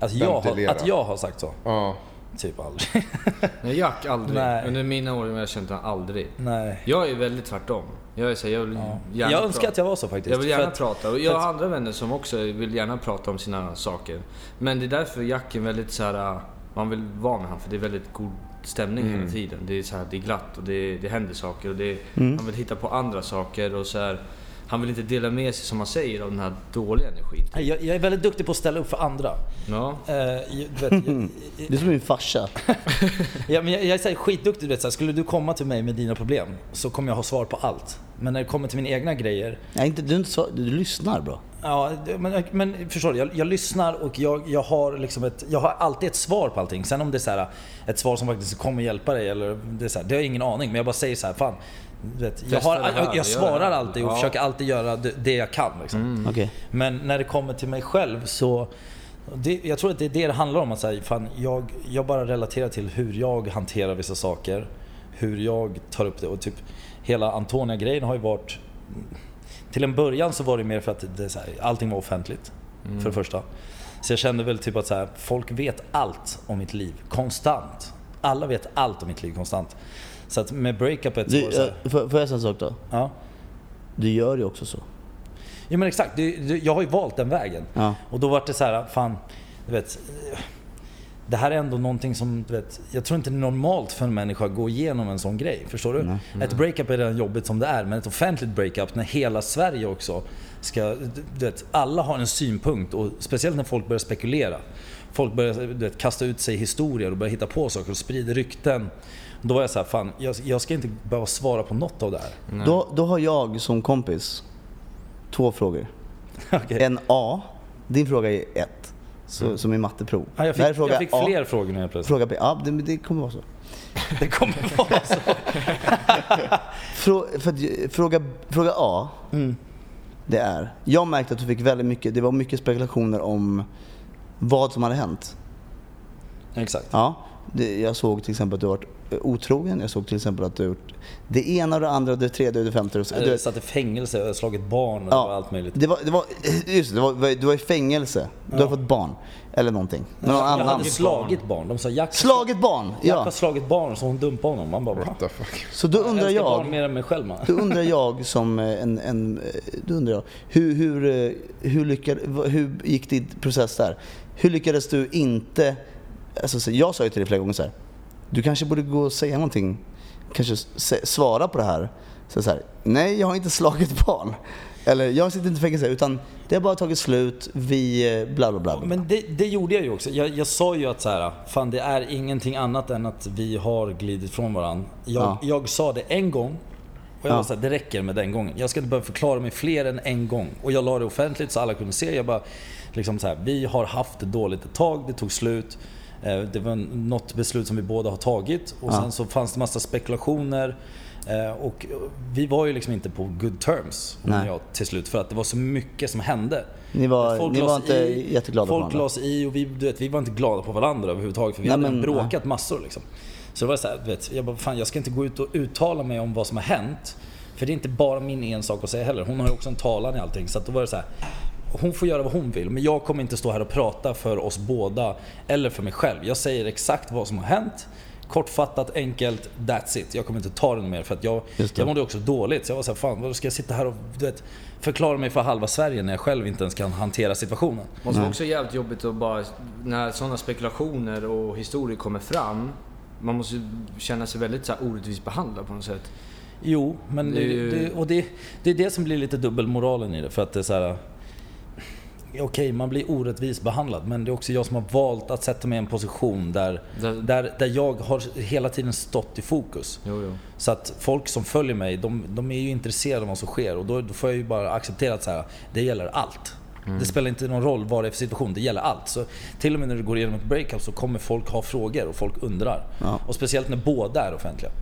att, jag har,
ventilera.
att jag har sagt så?
Ja.
Typ aldrig.
Nej, Jack aldrig.
Nej.
Under mina år har jag känt honom aldrig.
Nej.
Jag är väldigt tvärtom. Jag, är så här, jag vill gärna
Jag önskar
prata.
att jag var så faktiskt.
Jag vill
För
gärna
att-
prata. Och jag har andra vänner som också vill gärna prata om sina saker. Men det är därför Jack är väldigt så här. Man vill vara med honom för det är väldigt god stämning
Mm.
hela tiden. Det är, så här, det är glatt och det, det händer saker. Och det,
Mm.
Han vill hitta på andra saker. Och så här, han vill inte dela med sig, som man säger, av den här dåliga energin.
Nej, Jag, jag är väldigt duktig på att ställa upp för andra.
Ja.
Eh, jag, du vet, jag,
Du är som min farsa.
ja, men jag, jag är så här skitduktig, du vet, så här, skulle du komma till mig med dina problem så kommer jag ha svar på allt. Men när det kommer till mina egna grejer,
Nej, inte, du, är inte så, du lyssnar bra.
Ja, det- men, men förstår du? Jag, jag lyssnar och jag, jag, har liksom ett, jag har alltid ett svar på allting. Sen om det är så här, ett svar som faktiskt kommer hjälpa dig, eller det, är så här, det har jag ingen aning. Men jag bara säger så här, fan. du Vet, jag, har,
det här,
jag,
gör
jag svarar
det här.
alltid och
Ja. Mm.
försöker alltid göra det, det jag kan. Liksom.
Okej.
Men när det kommer till mig själv så... Det, jag tror att det är det det handlar om. Att så här, fan, jag, jag bara relaterar till hur jag hanterar vissa saker. Hur jag tar upp det. Och typ hela Antonia-grejen har ju varit... Till en början så var det mer för att det, är så här, allting var offentligt. För det första. Så jag kände väl typ att så här, folk vet allt om mitt liv. Konstant. Alla vet allt om mitt liv konstant. Så att med breakupet så var
Du,
det så här,
eh, får, får jag säga en sak då?
ja.
Du gör ju också så.
Ja men exakt, det, det, jag har ju valt den vägen.
Ja.
Och då var det så här, fan, du vet. Det här är ändå någonting som, du vet, jag tror inte det är normalt för en människa att gå igenom en sån grej. Förstår du?
Mm.
Ett breakup är redan jobbigt som det är, men ett offentligt breakup när hela Sverige också ska, du vet, alla har en synpunkt och speciellt när folk börjar spekulera. Folk börjar du vet, kasta ut sig i historier och börjar hitta på saker och sprider rykten. Då var jag så här, fan, jag, jag ska inte behöva svara på något av det här.
Då, då har jag som kompis två frågor.
Okej.
En A. Din fråga är ett. Så,
Mm.
Som är matteprov.
Ja, jag
Det här är
fick, jag fick
A.
fler frågor nu helt plötsligt.
Fråga B. Ja, det, men det kommer vara så.
Det kommer vara så.
Frå, för, att- fråga, fråga A.
Mm.
Det är. Jag märkte att du fick väldigt mycket, det var mycket spekulationer om vad som hade hänt.
Exakt.
Ja, det, jag såg till exempel att du har varit eh, otrogen. Jag såg till exempel att du har gjort det ena och det andra och det tredje och det femte. Och så, du,
Jag satt i fängelse och slagit barn och
Ja.
allt möjligt.
det var, det var, eh, just det, det var, du var i fängelse. Du har fått barn. Eller någonting. Någon
jag
annan.
hade slagit barn. De sa Jack,
Slagit barn!
Jack har
Ja.
slagit barn så hon dumpade honom. Man bara va?
What the fuck.
Så då undrar
älskar barn
jag,
mer än mig själv man.
då undrar jag som eh, en, en eh, då undrar jag, hur, hur, eh, hur, lyckad, vad- hur gick din process där? Hur lyckades du inte, alltså, så- jag sa ju till dig flera gånger så här, du kanske borde gå och säga någonting, kanske s- se- svara på det här. Så så här, nej jag har inte slagit barn. Eller jag sitter inte i fängelse utan det har bara tagit slut, vi eh, bla bla bla. bla.
Men det, det gjorde jag ju också. Jag, jag sa ju att så här, fan det är ingenting annat än att vi har glidit från varandra. Jag,
Ja.
jag sa det en gång och jag
Ja.
var så här, det räcker med den gången. Jag ska inte behöva förklara mig fler än en gång. Och jag la det offentligt så alla kunde se. Jag bara, liksom så här, vi har haft det dåligt ett tag, det tog slut. Eh, Det var en- något beslut som vi båda har tagit och sen så fanns det massa spekulationer. Eh, Och vi var ju liksom inte på good terms, hon och
Nej.
jag, till slut. För att det var så mycket som hände.
Ni var- ni
la sig
var inte jätteglada på
Folk
varandra.
la oss i och vi, du vet, vi var inte glada på varandra överhuvudtaget för vi
Nej,
hade
men-
bråkat massor liksom. Så det var så här, du vet, jag bara, fan jag ska inte gå ut och uttala mig om vad som har hänt. För det är inte bara min en sak att säga heller. Hon har ju också en talan i allting. Så att då var det så här, hon får göra vad hon vill men jag kommer inte stå här och prata för oss båda eller för mig själv. Jag säger exakt vad som har hänt. Kortfattat, enkelt, that's it. Jag kommer inte ta den mer för att jag,
Just det.
jag mådde också dåligt. Så jag var såhär, fan vad ska jag sitta här och du vet, förklara mig för halva Sverige när jag själv inte ens kan hantera situationen?
Måste vara också jävligt jobbigt att bara, när sådana spekulationer och historier kommer fram, man måste ju känna sig väldigt så här orättvist behandlad på något sätt.
Jo, men
Det
det,
är ju-
det, och det, det är det som blir lite dubbelmoralen i det. För att det är så här. Okej, man blir orättvist behandlad men det är också jag som har valt att sätta mig i en position där,
Där-
där, där jag har hela tiden stått i fokus.
Jo, jo.
Så att folk som följer mig, de, de är ju intresserade av vad som sker och då, då får jag ju bara acceptera att så här, det gäller allt.
Mm.
Det spelar inte någon roll vad det är för situation, det gäller allt. Så till och med när du går igenom ett breakup så kommer folk ha frågor och folk undrar.
Ja.
Och speciellt när båda är offentliga.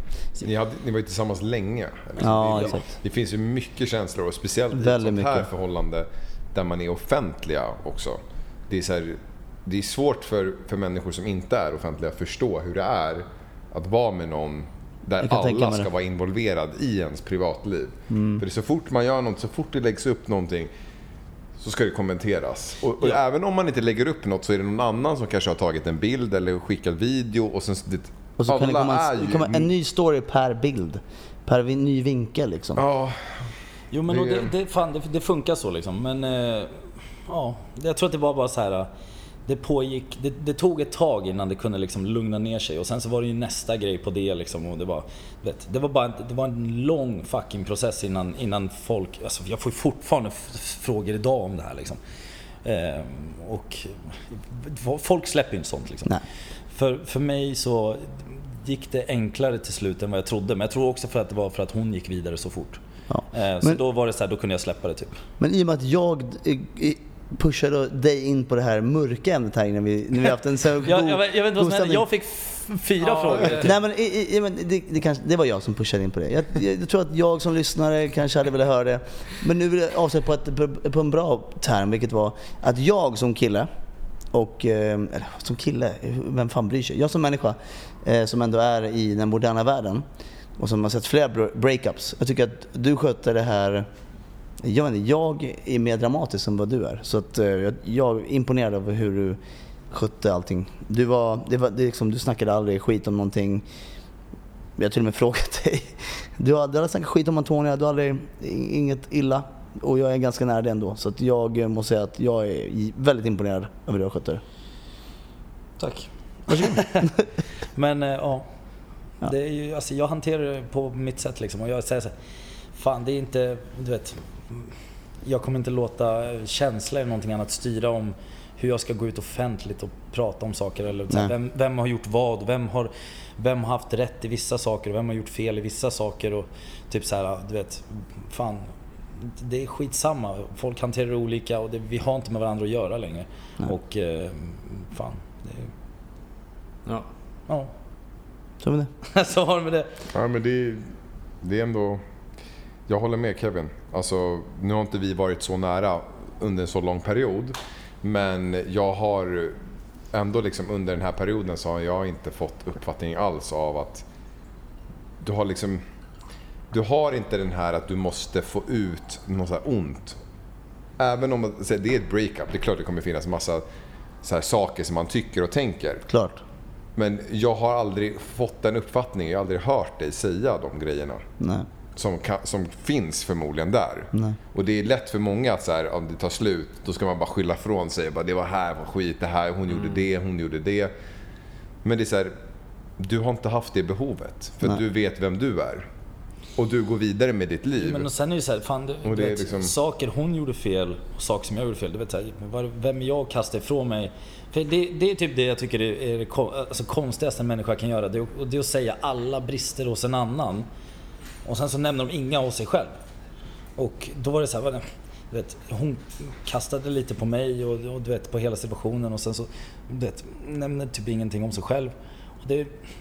Ni, hade, ni var ju tillsammans länge. Liksom.
Ja,
det,
exakt.
det finns ju mycket känslor och speciellt i ett
Väldigt
sånt här
mycket.
förhållande där man är offentliga också. Det är, så här, det är svårt för, för människor som inte är offentliga att förstå hur det är att vara med någon där
Jag kan tänka
alla
mig
ska
det. Mm.
vara involverad i ens privatliv. För det är så fort man gör något, så fort det läggs upp någonting så ska det kommenteras. Och, och även om man inte lägger upp något så är det någon annan som kanske har tagit en bild eller skickat video och sen... Det,
Och så kan det
alla
komma
är
en,
ju-
komma en ny story per bild. Per vi- ny vinkel liksom.
Ja,
Jo men
Det-
det, och det, det, fan, det, det funkar så liksom. Men eh, ja, jag tror att det var bara så här. eh, Det pågick, det, det tog ett tag innan det kunde liksom lugna ner sig och sen så var det ju nästa grej på det liksom och det var, vet, det var bara en, det var en lång fucking process innan, innan folk, alltså jag får ju fortfarande f- f- frågor idag om det här liksom. Eh, och folk släpper ju inte sånt liksom.
Nej.
För, för mig så gick det enklare till slut än vad jag trodde men jag tror också för att det var för att hon gick vidare så fort.
Ja.
Eh, Så
Men-
då var det så här, då kunde jag släppa det typ.
Men i och med att jag eh, eh, pushade dig in på det här mörka ämnet här innan vi, när vi haft en så god,
Jag, jag, vet- jag vet inte vad
god
som hände,
stämning.
jag fick f- fyra frågor.
Nej men, i, i, i, men det, det, kanske, det var jag som pushade in på det. Jag, jag, jag tror att jag som lyssnare kanske hade velat höra det. Men nu vill jag avsluta på, ett, på en bra term, vilket var att jag som kille, och, eh, eller som kille, vem fan bryr sig? Jag som människa, eh, som ändå är i den moderna världen och som har sett flera br- breakups. Jag tycker att du skötte det här jag, vet inte, jag är mer dramatisk än vad du är. Så att, eh, jag, jag är imponerad över hur du skötte allting. Du, var, det var, det är liksom, du snackade aldrig skit om någonting. Jag har till och med frågat dig. Du har, du har aldrig snackat skit om Antonia, du har aldrig, i- inget illa. Och jag är ganska nära det ändå. Så att jag eh, måste säga att jag är i- väldigt imponerad över hur jag skötte det.
Tack. Men eh, ja. Det är ju, alltså, jag hanterar det på mitt sätt liksom och jag säger så här, Fan det är inte, du vet. Jag kommer inte låta känsla eller någonting annat styra om hur jag ska gå ut offentligt och prata om saker. Eller, så här,
Nej.
vem, vem har gjort vad? Vem har, vem har haft rätt i vissa saker? Och vem har gjort fel i vissa saker? Och typ så här, du vet. Fan. Det är skitsamma. Folk hanterar det olika och det, vi har inte med varandra att göra längre. Och eh, fan. Det,
Ja.
Ja,
Så var det.
så har du med det.
Ja, men det, det är ändå... Jag håller med Kevin. Alltså, nu har inte vi varit så nära under en så lång period. Men jag har ändå liksom under den här perioden så har jag inte fått uppfattning alls av att du har liksom... Du har inte den här att du måste få ut något så här ont. Även om så här, det är ett breakup, det är klart det kommer finnas massa så här saker som man tycker och tänker.
Klart.
Men jag har aldrig fått den uppfattningen, jag har aldrig hört dig säga de grejerna
Nej.
som, kan, som finns förmodligen där. Och det är lätt för många att så här, om det tar slut, då ska man bara skylla från sig. Bara, det var här, var skit, det här, hon
Mm.
gjorde det, hon gjorde det. Men det är så här, du har inte haft det behovet, för
Nej.
du vet vem du är. och du går vidare med ditt liv.
Men och sen är det så här, fan, du,
Och
du
det är
vet,
liksom-
saker hon gjorde fel och saker som jag gjorde fel. Du vet, så här, var- vem är jag att kasta ifrån mig? För det, det är typ det jag tycker är är det kon- alltså, konstigaste en människa kan göra. Det, är- och det är att säga alla brister hos en annan. Och sen så nämner de inga hos sig själv. Och då var det så här, vad det- du vet, hon kastade lite på mig och, och du vet, på hela situationen och sen så du vet, nämner typ ingenting om sig själv. Och det,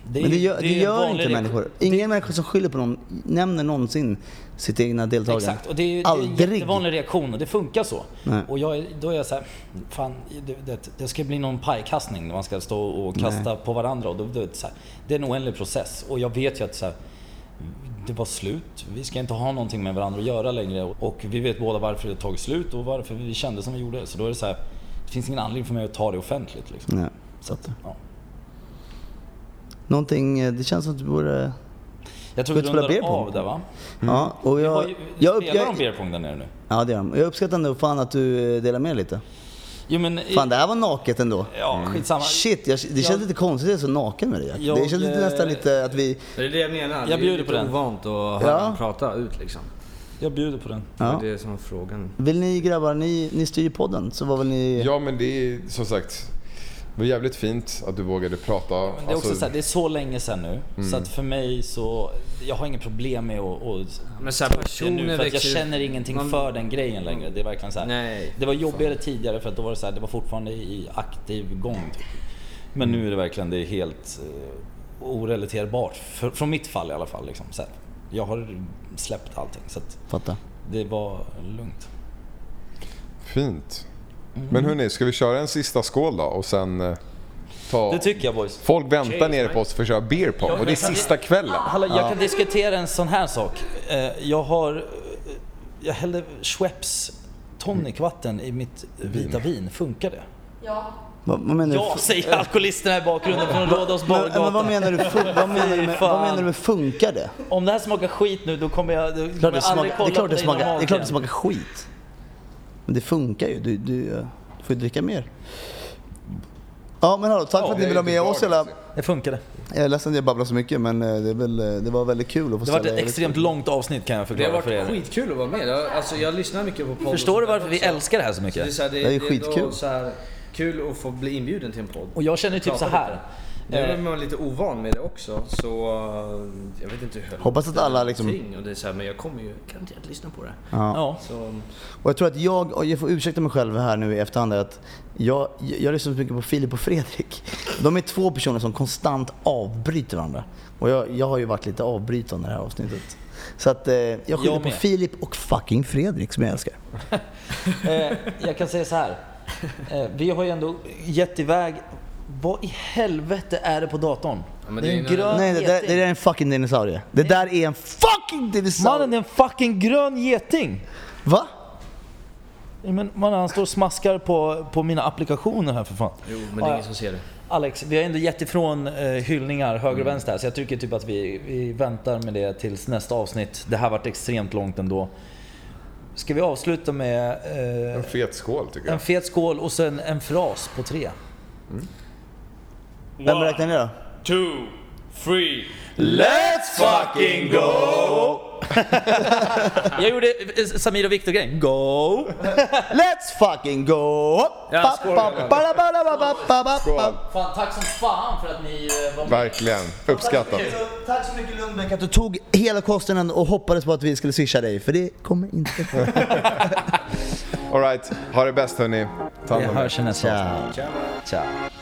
det, är-
Men det gör, det
är en
gör
vanlig
inte
reaktion.
människor. Ingen människa som skyller på någon nämner någonsin sitt egna deltagande.
Exakt, och det är, det är en
Aldrig.
jättevanlig reaktion och det funkar så.
Nej.
Och jag, är- då är jag så här, fan det, det, det ska bli någon pajkastning när man ska stå och kasta på varandra. Och då, då, är det, så här, det är en oändlig process och jag vet ju att så här, det var slut, vi ska inte ha någonting med varandra att göra längre. Och vi vet båda varför det tagit slut och varför vi kände som vi gjorde. Så då är det så här, det finns ingen anledning för mig att ta det offentligt. Liksom.
Nej.
Så att, ja.
Någonting, eh, det känns som att du borde...
Jag tror
Ska
vi
vi spela
rundar
beer pong?
av där va?
Ja, och
Ja,
jag... jag, upp-
spelar de
jag
beer pong där nere nu?
ja, det gör de. Jag uppskattar ändå fan att du eh, delar med dig lite.
Jo men, i-
Fan, det här var naket ändå.
ja skitsamma.
Shit, jag, det känns
Jag-
lite konstigt att jag är så naken med dig Jack.
Jag,
Det känns lite,
eh,
nästan lite att vi...
Det är det jag menar.
Jag bjuder
det är
på
lite
den.
ovant att höra
Ja.
dem prata ut liksom.
Jag bjuder på den.
Det
Ja.
är det som är frågan.
Vill ni grabbar, ni, ni styr ju podden, så vad vill ni...
Ja men det är som sagt, det var jävligt fint att du vågade prata.
Men det är också
Alltså-
så här, det är så länge sedan nu. Så att för mig så, jag har inget problem med att... att
Men så här,
ta upp det
personer
nu, för att jag
växer-
känner ingenting
man-
för den grejen längre. Det är verkligen så här.
Nej,
det var jobbigare tidigare för att då var det så här, det var fortfarande i aktiv gång. Typ. Men nu är det verkligen, det är helt eh, orelaterbart. För, från mitt fall i alla fall. Liksom. Så här, jag har släppt allting så att
Fatta.
det var lugnt.
Fint. Men hörni, ska vi köra en sista skål då och sen eh, ta...
Det tycker jag boys.
Folk väntar nere på oss för att köra beer pong och det är sista kvällen.
Hallå, jag kan diskutera en sån här sak. Eh, Jag har... eh, Jag hällde Schweppes tonicvatten i mitt vita Mm. vin. Funkar det? Eh,
Ja.
Vad, vad menar du?
Ja, säger alkoholisterna i bakgrunden från Rhodos
Men, men vad
bargata.
menar du, fun- vad menar du,
Fy
med,
fan.
vad menar du med funkar det?
Om det här smakar skit nu, då kommer jag, då kommer
Klart det,
jag aldrig kolla
smakar, det, är klart
på
det,
dig
smakar, det är
normalt
klart det
igen.
smakar skit. Men det funkar ju. Du, du eh, får ju dricka mer. Ja men hallå, tack för att ni
det är
ville ha
inte
med
bra,
oss hela...
alltså.
Det funkade.
Jag är ledsen att jag babblar så mycket men eh, det, är väl, eh, det var väldigt kul att få
Det var
ställa
ett
er-
extremt långt avsnitt kan jag
Det har
förklara för
varit
er.
skitkul att vara med. Jag, alltså, jag lyssnar mycket på podden.
Förstår du varför vi
också.
älskar det här så
Det är,
mycket?
så här, det,
Det är ju
det Då
skitkul.
så här, kul att få bli inbjuden till en podd.
Och jag känner typ så här. Eh.
Nu är man lite ovan med det också, så eh, jag vet inte hur jag
Hoppas att alla liksom-
någonting, Och det är så här, men jag kommer ju garanterat lyssna på det.
Ja.
Så,
Och jag tror att jag, och jag får ursäkta mig själv här nu i efterhand, att jag, jag lyssnar så mycket på Filip och Fredrik. De är två personer som konstant avbryter varandra. Och jag, jag har ju varit lite avbrytande i det här avsnittet. Så att eh, jag skyller
Jag
på
med.
Filip och fucking Fredrik som jag älskar.
Eh, jag kan säga så här. Eh, vi har ju ändå gett iväg... Vad i helvete är det på datorn?
men
det är
det
en
är en-
grön
Nej, det där,
geting.
det där är en fucking dinosaurie. Det där är en fucking dinosaurie!
Mannen, det är en fucking grön geting!
Va?
Ja, Men man, han står och smaskar på, på mina applikationer här för fan.
jo, men det
Ja,
är
ja.
ingen som ser det.
Alex, vi har ändå gett ifrån eh, hyllningar höger
Mm.
och vänster här, så jag tycker typ att vi, vi väntar med det tills nästa avsnitt. Det här vart extremt långt ändå. Ska vi avsluta med eh,
En fet skål tycker jag.
en fet skål och sen en fras på tre?
Vem räknar ni då?
Two, three.
Let's fucking go! jag gjorde eh, Samir och Viktor-grejen. Go!
Let's fucking go!
Ja, skål,
Ba, ba, ba, ba, ba, ba, ba, ba.
Skål.
Fan, tack som fan för att ni eh, var med.
Verkligen. Uppskattat.
Tack så mycket Lundbäck att du tog hela kostnaden och hoppades på att vi skulle swisha dig, för det kommer inte
Alright, ha det bäst hörni. Ta hand
Vi
om er.
hörs i nästa avsnitt.
Ciao.
Ciao.